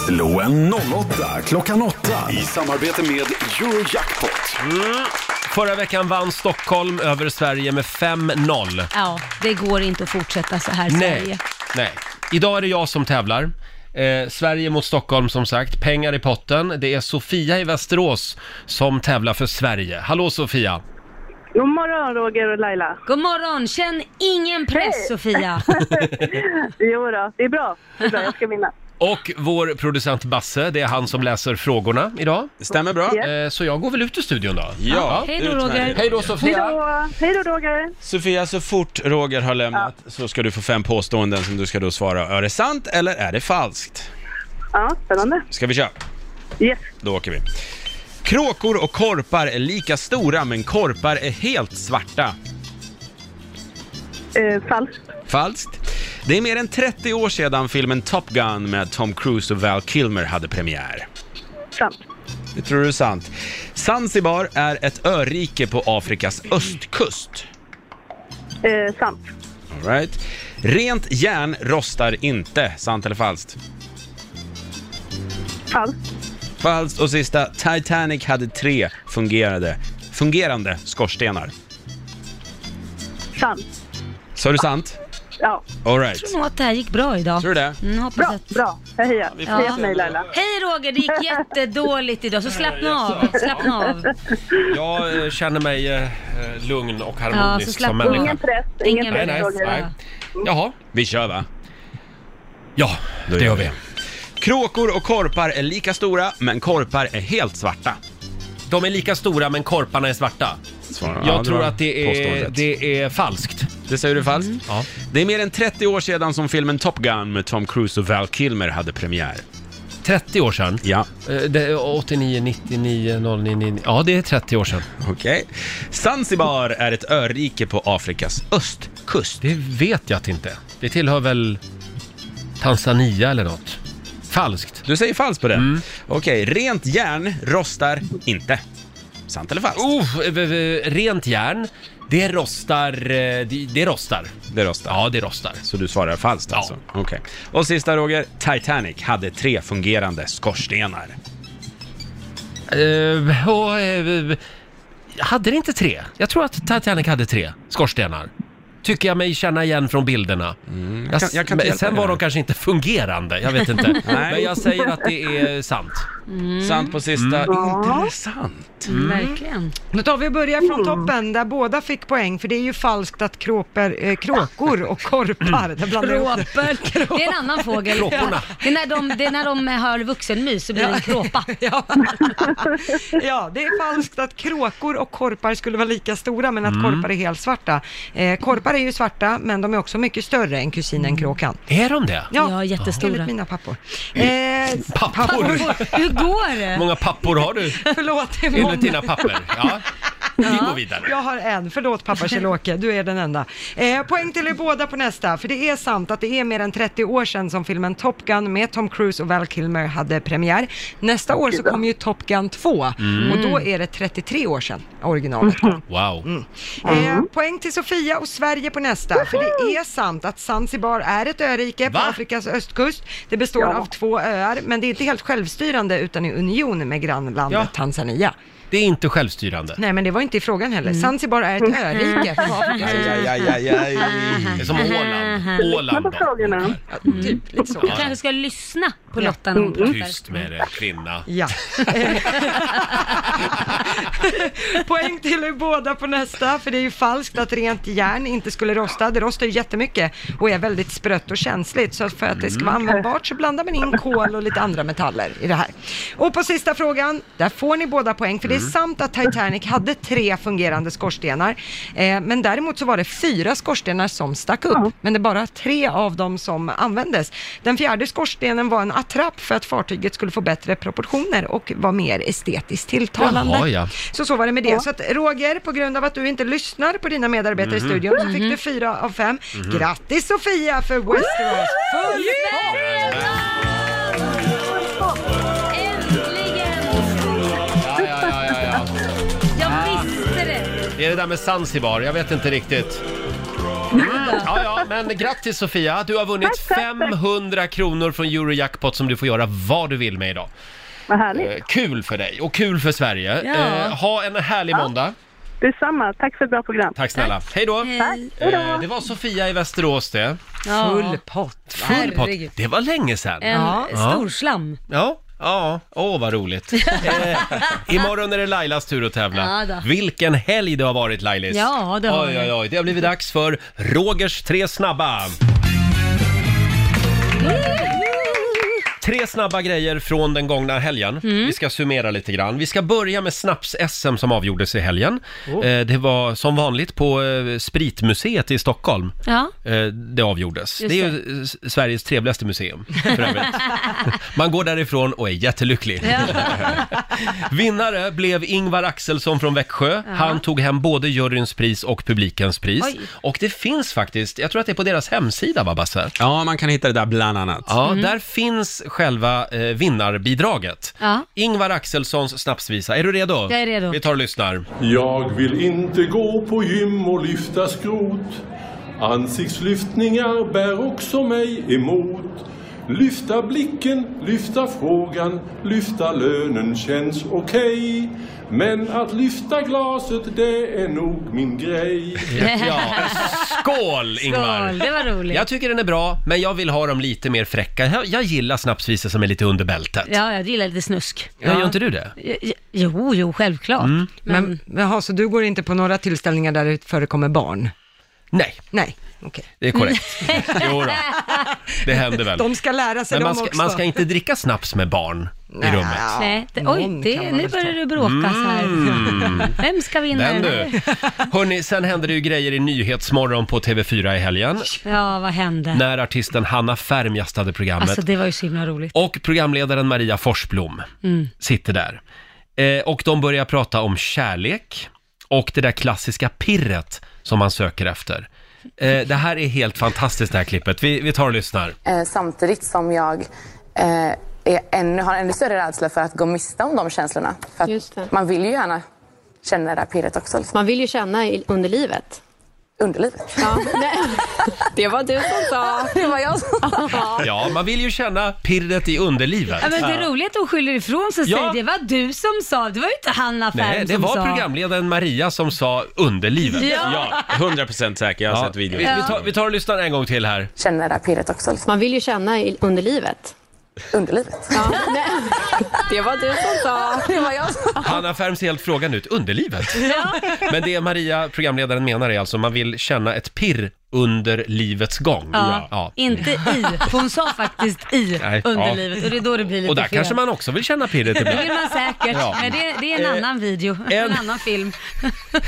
Slå en 08 klockan 8 i samarbete med Eurojackpot.
Förra veckan vann Stockholm över Sverige med 5-0.
Ja, det går inte att fortsätta så här
Nej,
Sverige.
nej. Idag är det jag som tävlar. Eh, Sverige mot Stockholm som sagt, pengar i potten. Det är Sofia i Västerås som tävlar för Sverige. Hallå Sofia!
God morgon Roger och Laila.
God morgon, känn ingen press Sofia.
jo då, det är bra. Det är bra, jag ska vinna.
Och vår producent Basse, det är han som läser frågorna idag.
Stämmer bra.
Eh, Så jag går väl ut ur studion då.
Ja,
Hej då, Roger.
utmärkt.
Hej då Sofia!
Hej då Roger.
Sofia, så fort Roger har lämnat så ska du få fem påståenden som du ska då svara. Är det sant eller är det falskt?
Ja, spännande.
Ska vi köra?
Yes.
Då åker vi. Kråkor och korpar är lika stora men korpar är helt svarta.
Eh, falskt.
Falskt. Det är mer än 30 år sedan filmen Top Gun med Tom Cruise och Val Kilmer hade premiär.
Sant.
Det tror du är sant. Zanzibar är ett örike på Afrikas östkust.
Eh, sant.
All right. Rent järn rostar inte. Sant eller falskt?
Falskt.
Falskt. Och sista, Titanic hade tre fungerade, fungerande skorstenar.
Sant.
Sa du sant?
Ja.
All
Jag
right.
tror nog att det här gick bra idag.
Tror du det?
Mm, hoppas
Bra,
att...
bra. Jag hejar.
vi får
Heja
se.
på mig Laila.
Hej Roger, det gick jättedåligt idag, så slappna av. Slappna av.
Jag eh, känner mig eh, lugn och
Ja,
harmonisk
så
som
slapp av.
människa.
press.
Ingen
Nej,
press.
nej, nej. Jaha.
Vi kör va?
Ja, det gör vi.
Kråkor och korpar är lika stora, men korpar är helt svarta.
De är lika stora men korparna är svarta. Jag tror att det är, det är falskt.
Det säger du falskt?
Ja.
Det är mer än 30 år sedan som filmen Top Gun med Tom Cruise och Val Kilmer hade premiär.
30 år sedan.
Ja.
Eh, Det är 89, 99, 09, 99. Ja, det är 30 år sedan.
Okej. Zanzibar är ett örike på Afrikas östkust.
Det vet jag att inte. Det tillhör väl Tanzania eller något. Falskt.
Du säger falskt på det?
Mm.
Okej, rent järn rostar inte. Sant eller falskt?
Oh, eh, eh, rent järn. Det rostar. eh, Det, det rostar.
Det rostar.
Ja, det rostar.
Så du svarar falskt alltså? Okej. Och sista Roger, Titanic hade tre fungerande skorstenar.
Eh, och, eh, hade det inte tre? Jag tror att Titanic hade tre skorstenar. Tycker jag mig känna igen från bilderna.
Mm, jag kan- jag kan inte
men
hjälpa
sen
dig
var
där.
de kanske inte fungerande, jag vet inte.
Nej.
Men jag säger att det är sant. Mm.
Sant på sista. Intressant.
Verkligen.
Då tar vi och börjar från toppen där båda fick poäng för det är ju falskt att kråper, eh, kråkor och korpar, där blandar jag ihop det.
Kråpor. Det är en annan fågel.
Kråkorna.
Det är när de, det är när de har vuxenmys så blir det en kråpa.
Ja, det är falskt att kråkor och korpar skulle vara lika stora men
Mm.
att korpar är helt svarta. Eh, korpar är ju svarta men de är också mycket större än
Mm.
kusinen kråkan.
Är de det?
Ja, jättestora.
Enligt mina pappor. Eh,
Pappor?
Hur går det?
Hur många pappor har du
förlåt, det är
enligt
många.
dina papper? Ja. Vi går vidare.
Jag har en, förlåt pappa Kjell-Åke, du är den enda. Eh, poäng till er båda på nästa, för det är sant att det är mer än 30 år sedan som filmen Top Gun med Tom Cruise och Val Kilmer hade premiär. Nästa år så kommer ju Top Gun 2
Mm.
och då är det 33 år sedan originalet kom.
Wow.
Eh, poäng till Sofia och Sverige på nästa, för det är sant att Zanzibar är ett örike på Afrikas östkust. Det består
Ja.
av två öar, men det är inte helt självstyrande utan i union med grannlandet Tanzania.
Det är inte självstyrande.
Nej, men det var inte i frågan heller. Zanzibar är ett örike på
Mm.
Afrikas
Aj, aj, aj, aj, aj. Det är som Åland. Åland då.
frågorna. Typ
Liksom.
lite så.
Du kanske ska lyssna på Lotta när hon pratar.
Mm. Tyst med dig, kvinna.
Ja. Poäng till er båda på nästa, för det är ju falskt att rent järn inte skulle rosta. Det rostar ju jättemycket och är väldigt sprött och känsligt. Så för att det ska vara
Mm.
användbart så blandar man in kol och lite andra metaller i det här. Och på sista frågan, där får ni båda poäng, för det är
Mm.
sant att Titanic hade tre fungerande skorstenar. Eh, men däremot så var det fyra skorstenar som stack upp, men det är bara tre av dem som användes. Den fjärde skorstenen var en attrapp för att fartyget skulle få bättre proportioner och var mer estetiskt tilltalande.
Jaha, ja.
Så så var det med det.
Ja.
Så att Roger, på grund av att du inte lyssnar på dina medarbetare
Mhm.
i studion så fick du fyra av fem.
Mhm.
Grattis Sofia för Westeros! Full fart!
Ja, ja, ja, ja, ja.
Jag visste det!
Det är det där med Zanzibar, jag vet inte riktigt. Mm. Ja, ja, men grattis Sofia, du har vunnit 500 kronor från Eurojackpot som du får göra vad du vill med idag.
Vad härligt.
Eh, Kul för dig och kul för Sverige.
Ja.
Eh, Ha en härlig måndag.
Detsamma. Tack för ett bra program.
Tack snälla. Hej då.
Tack. Hej då.
Eh, Det var Sofia i Västerås det.
Ja. Full
pott.
Full pott.
Herregud.
Det var länge sedan.
En stor slam.
Ja, ja, åh vad roligt. eh, imorgon är det Lailas tur att tävla.
Ja då.
Vilken helg det har varit Lailis.
Ja, det har
oj,
det.
oj, oj. Det har blivit dags för Rogers tre snabba. Tre snabba grejer från den gångna helgen.
Mm.
Vi ska summera lite grann. Vi ska börja med snaps-SM som avgjordes i helgen.
Oh.
Eh, det var som vanligt på eh, Spritmuseet i Stockholm.
Ja.
Eh, det avgjordes.
Just
det är ju eh, s- Sveriges trevligaste museum, för övrigt. Man går därifrån och är jättelycklig. Vinnare blev Ingvar Axelsson från Växjö.
Ja.
Han tog hem både juryns pris och publikens pris.
Oj.
Och det finns faktiskt, jag tror att det är på deras hemsida va Basse?
Ja, man kan hitta det där bland annat.
Ja,
Mm.
där finns själva eh, vinnarbidraget.
Ja.
Ingvar Axelssons snapsvisa. Är du redo?
Jag är redo.
Vi tar och lyssnar.
Jag vill inte gå på gym och lyfta skrot. Ansiktslyftningar bär också mig emot. Lyfta blicken, lyfta frågan, lyfta lönen känns okej. Men att lyfta glaset, det är nog min grej.
Ja, skål Ingvar!
Skål, det var roligt.
Jag tycker den är bra, men jag vill ha dem lite mer fräcka. Jag, jag gillar snapsvisor som är lite under bältet.
Ja, jag gillar lite snusk.
Ja, gör inte du det?
Jo, jo, självklart.
Mm.
Men, jaha, så du går inte på några tillställningar där det förekommer barn?
Nej.
Nej, okej.
Det är korrekt. Jo då. Det händer väl.
De ska lära sig
Men man
de
ska,
också.
man ska inte dricka snaps med barn i rummet.
Nej, det, oj, det, nu börjar det bråkas
Mm.
här. Vem ska vinna
Den
här?
du. Hörni, sen hände det ju grejer i Nyhetsmorgon på TV4 i helgen.
Ja, vad hände?
När artisten Hanna Färm gästade programmet.
Alltså det var ju så himla roligt.
Och programledaren Maria Forsblom
Mm.
sitter där. Eh, och de börjar prata om kärlek och det där klassiska pirret som man söker efter. Eh, det här är helt fantastiskt det här klippet. Vi, vi tar och lyssnar.
Eh, samtidigt som jag eh, är ännu, har ännu större rädsla för att gå miste om de känslorna. För att man vill ju gärna känna det där pirret också. Liksom. Man vill ju känna under livet. Under livet? Ja, det var du som sa. Det var jag som sa.
Ja, man vill ju känna pirret i underlivet.
Ja, men det är roligt att hon skyller ifrån sig och
Ja.
säger det var du som sa, det var ju inte Hanna Färm
Nej, det
som
var
sa.
programledaren Maria som sa underlivet.
Ja.
100% säker, jag har sett videon. Vi, vi, tar, vi tar och lyssnar en gång till här.
Känna det där pirret också.
alltså,
Liksom. Man vill ju känna under livet. Under livet? Ja, det var du som sa. Det var jag som sa.
Hanna Färm ser helt frågan ut, underlivet.
Ja.
Men det Maria, programledaren, menar är alltså man vill känna ett pirr under livets gång.
Ja, Inte i, för hon sa faktiskt i
Nej, ja.
under livet och det är då det blir lite
Och där
fel.
kanske man också vill känna pirret
det
ibland.
vill man säkert,
Ja.
men det, det är en
Eh,
annan video, en, annan film.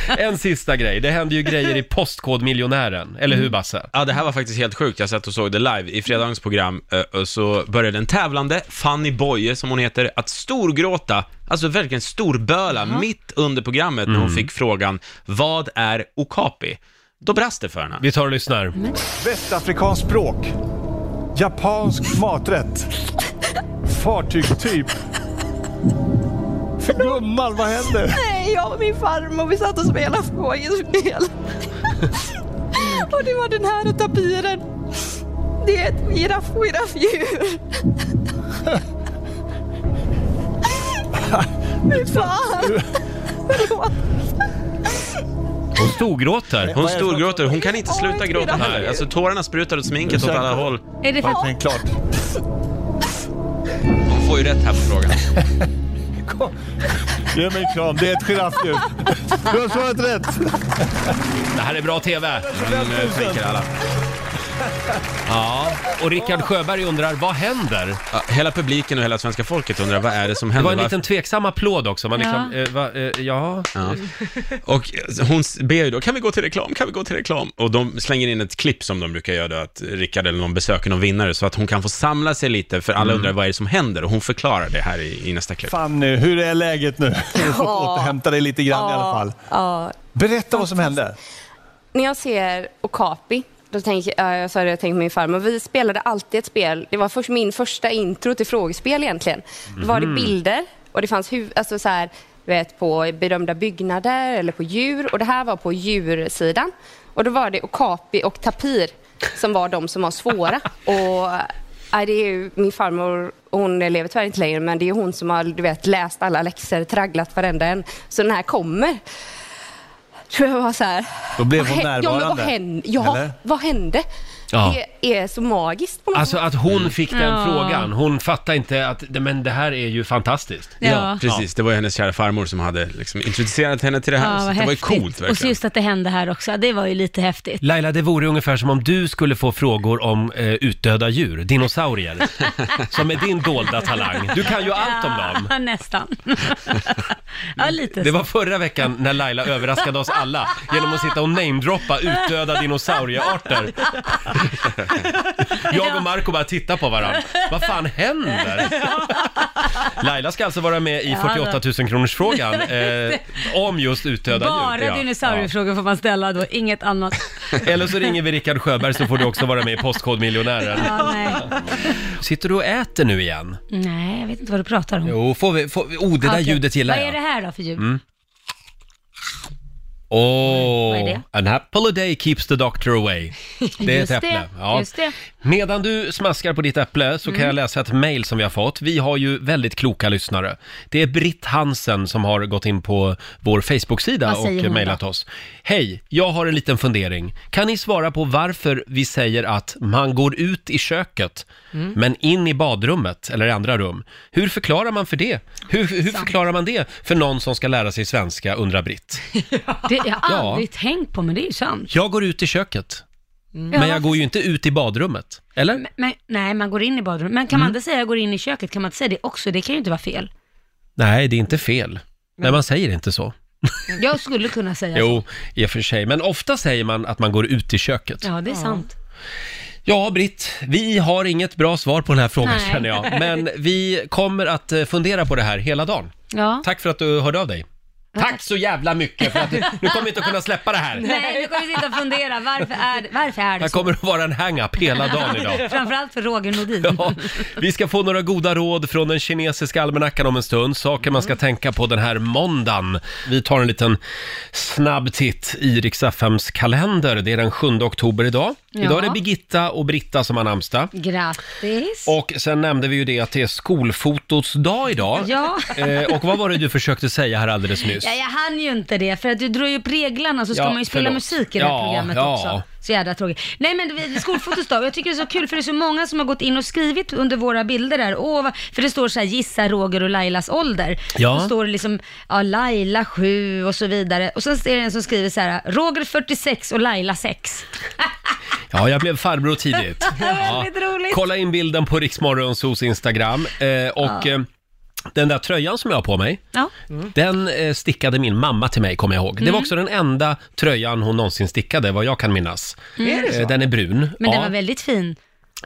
En sista grej, det händer ju grejer i Postkodmiljonären, eller
Mm.
hur Basse?
Ja, det här var faktiskt helt sjukt. Jag satt och såg det live i fredagens program eh, och så började den tävlande, Fanny Boye som hon heter, att storgråta, alltså verkligen storböla, mitt under programmet när hon
Mm.
fick frågan Vad är okapi? Då brast det för henne.
Vi tar och lyssnar.
Västafrikanskt språk. Japansk maträtt. Fartygstyp. För gumman, vad händer?
Nej, jag och min farmor vi satt och spelade frågespel. och det var den här tapiren. Det är ett giraff, giraffdjur. Fy fan! Förlåt.
Hon storgråter.
Hon storgråter, hon kan inte sluta gråta
Nej.
heller. Alltså tårarna sprutar åt sminket åt alla håll.
Är det
Verkligen
klart.
Hon får ju rätt här på frågan.
Ge mig en kram, det är ett giraffdjur. Du har svarat rätt.
Det här är bra TV, mm, tänker alla. Ja, och Rickard Sjöberg undrar, vad händer?
Ja, hela publiken och hela svenska folket undrar vad är det som
Det
händer?
var en
Varför-
liten tveksam applåd också. Man liksom,
Ja.
eh, va, eh, ja.
Ja. Och hon ber ju då, kan vi gå till reklam, kan vi gå till reklam? Och de slänger in ett klipp som de brukar göra då, att Rickard eller någon besöker någon vinnare, så att hon kan få samla sig lite, för
Mm.
alla undrar vad är det som händer? Och hon förklarar det här i, i nästa klipp.
Fanny, hur är läget nu? Du får
Ja.
återhämta dig lite grann i alla fall.
Ja.
Berätta vad som hände.
När jag ser Okapi, då tänker jag, jag sa det jag tänkte min farmor, vi spelade alltid ett spel, det var först, min första intro till frågespel egentligen. Då var det
Mhm.
bilder och det fanns huv, alltså så här, du vet, på berömda byggnader eller på djur och det här var på djursidan. Och då var det Okapi och Tapir som var de som var svåra. och ja, det är ju min farmor, hon lever tyvärr inte längre, men det är hon som har du vet, läst alla läxor, tragglat varenda en. Så den här kommer. Tror jag var så här.
Då blev hon
Vad hä- Ja, men
närvarande,
vad hände? Ja,
eller?
vad hände?
Ja.
Det är så magiskt på något
Alltså
sätt.
att hon fick den
Ja.
frågan. Hon fattar inte att, men det här är ju fantastiskt.
Ja. precis. Det var ju hennes kära farmor som hade liksom introducerat henne till det här,
Ja,
så
vad
det var ju
häftigt.
coolt
Och så
verkligen.
just att det hände här också, det var ju lite häftigt.
Laila, det vore ungefär som om du skulle få frågor om eh, utdöda djur, dinosaurier, som är din dolda talang. Du kan ju allt om dem.
Ja, nästan. ja, lite
Det
så.
var förra veckan när Laila överraskade oss alla genom att sitta och namedroppa utdöda dinosauriearter. Jag och Marco bara tittar på varandra. Vad fan händer? Laila ska alltså vara med i
Ja,
48 000 kronors frågan eh, om just utdöda
Bara
djur. Ja.
dinosauriefrågor får man ställa då, inget annat.
Ja. Eller så ringer vi Rickard Sjöberg så får du också vara med i Postkodmiljonären.
Ja, nej.
Sitter du och äter nu igen?
nej, jag vet inte vad du pratar om.
Jo, får vi... Får, vi- oh, det där
Okej.
ljudet gillar
Vad är
jag.
det här då för ljud?
Mm. Åh,
Vad är det?
an apple a day keeps the doctor away. Det är ett
Just
äpple.
det, just det.
Medan du smaskar på ditt äpple så kan
Mm.
jag läsa ett mejl som vi har fått. Vi har ju väldigt kloka lyssnare. Det är Britt Hansen som har gått in på vår Facebook-sida
Vad säger
och
hon
mejlat
då?
oss. Hej, jag har en liten fundering. Kan ni svara på varför vi säger att man går ut i köket
Mm.
men in i badrummet eller i andra rum? Hur förklarar man för det? Hur, hur förklarar man det för någon som ska lära sig svenska, undrar Britt.
Det har jag
Ja.
aldrig tänkt på, men det är ju sant.
Jag går ut i köket.
Ja,
Mm. Men jag går ju inte ut i badrummet, eller?
Men, nej, man går in i badrummet. Men kan man
Mm.
inte säga jag går in i köket? Kan man inte säga det också? Det kan ju inte vara fel.
Nej, det är inte fel. Nej, man säger inte så.
Alltså- Jag skulle kunna säga så.
Jo, i och för sig. Men ofta säger man att man går ut i köket.
Ja, det är sant.
Ja, Britt, vi har inget bra svar på den här frågan
Nej.
känner jag. Men vi kommer att eh, fundera på det här hela dagen.
Ja.
Tack för att du hörde av dig. Tack så jävla mycket för att du, nu kommer vi inte att kunna släppa det här.
Nej, nu kommer vi sitta och fundera. Varför är, det- varför är det
Det
så?
kommer att vara en hang-up hela dagen idag.
Framförallt för Roger Nordin.
Vi ska få några goda råd från den kinesiska almanackan om en stund. Saker man
Mm.
ska tänka på den här måndagen. Vi tar en liten snabb titt i riks kalender. Det är den 7 oktober idag.
Ja.
Idag är det Birgitta och Britta som har namnsdag.
Grattis.
Och sen nämnde vi ju det att det är skolfotots dag idag.
Ja.
Eh, och vad var det du försökte säga här alldeles nyss?
Ja, jag hann ju inte det, för att du drog ju upp reglarna så ska
Ja,
man ju spela
förlåt.
musik i det här
Ja,
programmet
ja.
också. Så jävla tråkigt. Nej men det- det är skolfotos dag, jag tycker det är så kul för det är så många som har gått in och skrivit under våra bilder där. Åh, vad- för det står så här gissa Roger och Lailas ålder.
Ja.
Då står det liksom ja, Laila 7 och så vidare. Och sen är det en som skriver så här Roger 46 och Laila 6.
Ja, jag blev farbror tidigt. Ja.
Väldigt roligt.
Kolla in bilden på Riksmorgonsos Instagram. Eh, och
Ja.
eh, den där tröjan som jag har på mig,
Ja.
den eh, stickade min mamma till mig, kommer jag ihåg. Det var
Mm.
också den enda tröjan hon någonsin stickade, vad jag kan minnas.
Mm. Är det så?
Eh, Den är brun.
Men
ja.
den var väldigt fin.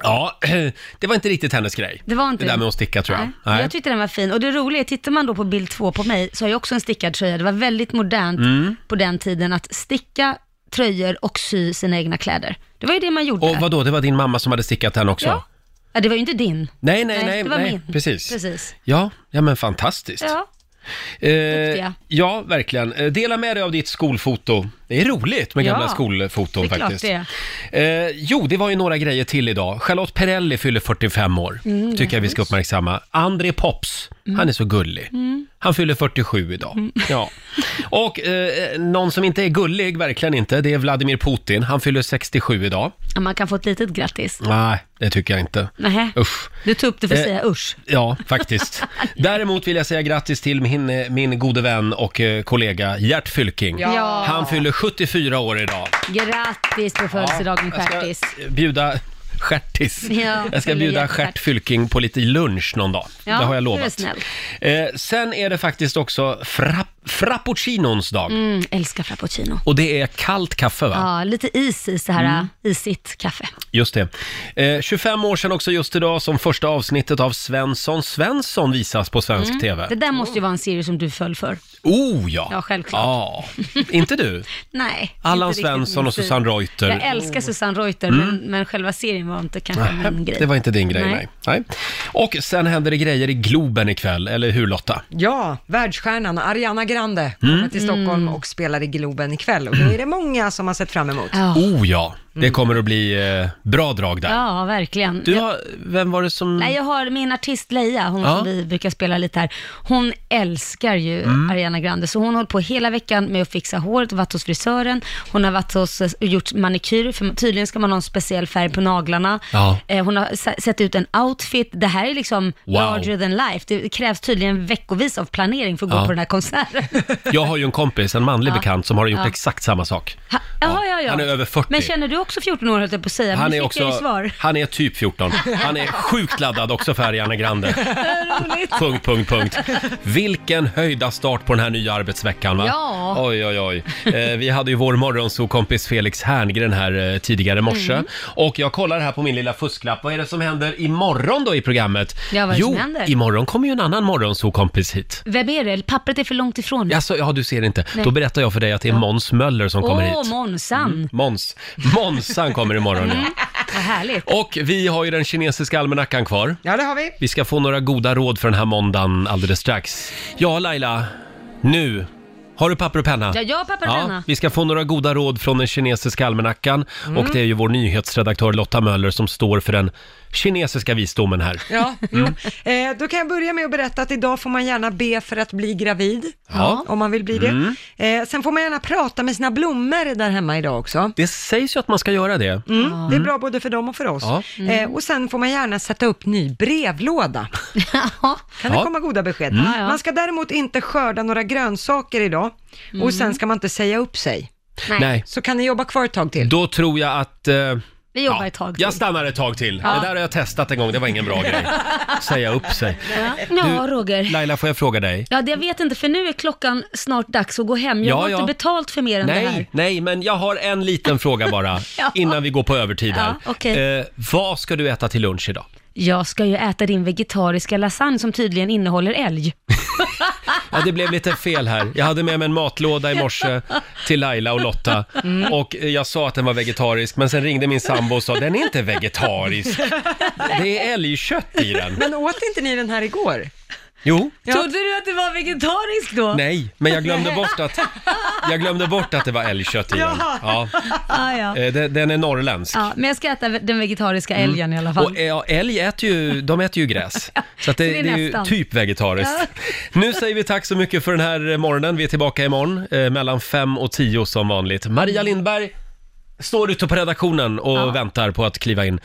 ja, det var inte riktigt hennes grej.
Det var inte
det där
det.
med att sticka tror jag.
Nej. Jag tyckte den var fin. Och det roliga är, tittar man då på bild två på mig, så har jag också en stickad tröja. Det var väldigt modernt
Mm.
på den tiden att sticka tröjor och sy sina egna kläder. Det var ju det man gjorde.
Och vadå, det var din mamma som hade stickat den också?
Ja. Ja, det var ju inte din.
Nej, nej, nej.
det var
nej.
min.
Precis.
Precis.
Ja, ja men fantastiskt.
Ja.
Eh, ja, verkligen. Eh, Dela med dig av ditt skolfoto. Det är roligt med gamla
Ja,
skolfoton
det är klart
faktiskt.
det
Eh, jo, det var ju några grejer till idag. Charlotte Perrelli fyller 45 år,
Mm,
tycker jag vi ska
grattis.
uppmärksamma. André Pops,
Mm.
han är så gullig.
Mm.
Han fyller 47 idag. Ja. Och eh, någon som inte är gullig, verkligen inte, det är Vladimir Putin. Han fyller 67 idag.
Ja, man kan få ett litet grattis.
Nej, det tycker jag inte.
Nähä.
Usch.
Du tog upp det för att
Eh,
säga usch.
Ja, faktiskt. Däremot vill jag säga grattis till min, eh, min gode vän och eh, kollega Gert Fylking.
Ja.
Han fyller 74 år idag.
Grattis på födelsedagen,
jag ska-
Stjärtis.
Bjuda Stjärtis.
Ja,
jag ska
eller
bjuda
Gert
Stjärt Fylking på lite lunch någon dag.
Ja,
det har
det är
jag lovat.
snällt.
Eh, sen är det faktiskt också fra, frappuccinons dag.
Mm, älskar frappuccino.
Och det är kallt kaffe va?
Ja, lite is i så här
Mm.
äh, isigt kaffe.
Just det. Eh, 25 år sedan också just idag som första avsnittet av Svensson Svensson visas på svensk
Mm.
TV.
Det där måste ju vara en serie som du föll för.
Oh ja!
Ja, självklart.
Ja. Inte du?
Nej.
Allan
inte riktigt
Svensson
min
och
stil.
Susanne Reuter.
Jag älskar Susanne Reuter,
Mm.
men, men själva serien var inte kanske
Nähä,
min grej.
Det var inte din grej, nej. nej. Och sen händer det grejer i Globen ikväll, eller hur Lotta?
Ja, världsstjärnan Ariana Grande kommer
Mm.
till Stockholm och spelar i Globen ikväll och det är det många som har sett fram emot.
Oh ja, det kommer att bli eh, bra drag där.
Ah. Mm. Ja, verkligen.
Du
Jag-
har, vem var det som...
Nej, jag har min artist Leia, hon
Ja.
som vi brukar spela lite här, hon älskar ju
Mm.
Ariana Grande, så hon har hållit på hela veckan med att fixa håret, varit hos frisören, hon har varit hos, och gjort manikyr, för tydligen ska man ha en speciell färg på naglarna.
Ja.
Eh, Hon har sa- sett ut en outfit, det här är liksom
Wow.
larger than life, det krävs tydligen veckovis av planering för att
Ja.
gå på den här konserten.
Jag har ju en kompis, en manlig
Ja.
bekant, som har gjort
Ja.
exakt samma sak.
Ha, ja, ja, ja.
Han är över 40.
Men känner du också 14 år, höll jag på att säga,
Han
nu
är,
fick jag ju
också,
svar.
han är typ 14. Han är sjukt laddad också för Ariana Grande.
Roligt.
Punkt, punkt, punkt. Vilken höjda start på den här nya arbetsveckan va?
Ja.
Oj, oj, oj. Eh, vi hade ju vår morgonsokompis Felix Herngren här eh, tidigare i morse.
Mm.
Och jag kollar här på min lilla fusklapp. Vad är det som händer imorgon då i programmet?
Ja, vad är det
jo,
som händer?
imorgon kommer ju en annan morgonsokompis hit.
Vem är det? Pappret är för långt ifrån mig.
Jaså, ja du ser inte.
Mm. Nej.
Då berättar jag för dig att det är Måns Möller som
Åh,
kommer hit. Mm.
Månsan.
Måns. Månsan kommer imorgon ja.
Mm. Vad härligt.
Och vi har ju den kinesiska almanackan kvar.
Ja, det har vi.
Vi ska få några goda råd för den här måndagen alldeles strax. Ja, Laila. Nu. Har du papper och penna?
Ja, jag har papper och penna.
Vi ska få några goda råd från den kinesiska almanackan.
Mm.
Och det är ju vår nyhetsredaktör Lotta Möller som står för den kinesiska visdomen här.
Ja, jo.
Mm.
Eh, då kan jag börja med att berätta att idag får man gärna be för att bli gravid,
Ja.
om man vill bli det.
Mm.
Eh, sen får man gärna prata med sina blommor där hemma idag också.
Det sägs ju att man ska göra det.
Mm, Det är bra både för dem och för oss.
Ja. Mm.
Eh, och sen får man gärna sätta upp ny brevlåda. kan det
Ja.
komma goda besked.
Mm. Ja, ja.
Man ska däremot inte skörda några grönsaker idag
Mm.
och sen ska man inte säga upp sig.
Nej. Nej.
Så kan ni jobba kvar ett tag till.
Då tror jag att... eh,
Vi jobbar ett tag till.
jag stannar ett tag till.
Ja.
Det där har jag testat en gång, det var ingen bra grej. Säga upp sig.
Ja, ja Roger.
Laila, får jag fråga dig?
Ja, det jag vet inte, för nu är klockan snart dags att gå hem. Jag
Ja,
har
ja.
inte betalt för mer än det här.
Nej, nej, men jag har en liten fråga bara
Ja.
innan vi går på övertid här.
Ja, okej.
eh, vad ska du äta till lunch idag?
Jag ska ju äta din vegetariska lasagne som tydligen innehåller älg.
Ja, det blev lite fel här. Jag hade med mig en matlåda i morse till Laila och Lotta
Mm.
och eh, jag sa att den var vegetarisk men sen ringde min sambo och sa den är inte vegetarisk. Det är älgkött i den.
Men åt inte ni den här igår?
Jo.
Trodde du att det var vegetariskt då?
Nej, men jag glömde bort att, jag glömde bort att det var älgkött i den. Ja.
Ja. Ah, ja.
Eh, den- Den är norrländsk.
ja, men jag ska äta den vegetariska
Mm.
älgen i alla fall.
Och ja, älg äter ju, de äter ju gräs. Så att det,
Så
det,
det är
är ju
nästan.
typ vegetariskt. Nu säger vi tack så mycket för den här eh, morgonen. Vi är tillbaka imorgon eh, mellan fem och tio som vanligt. Maria Lindberg står ute på redaktionen och väntar på att kliva in.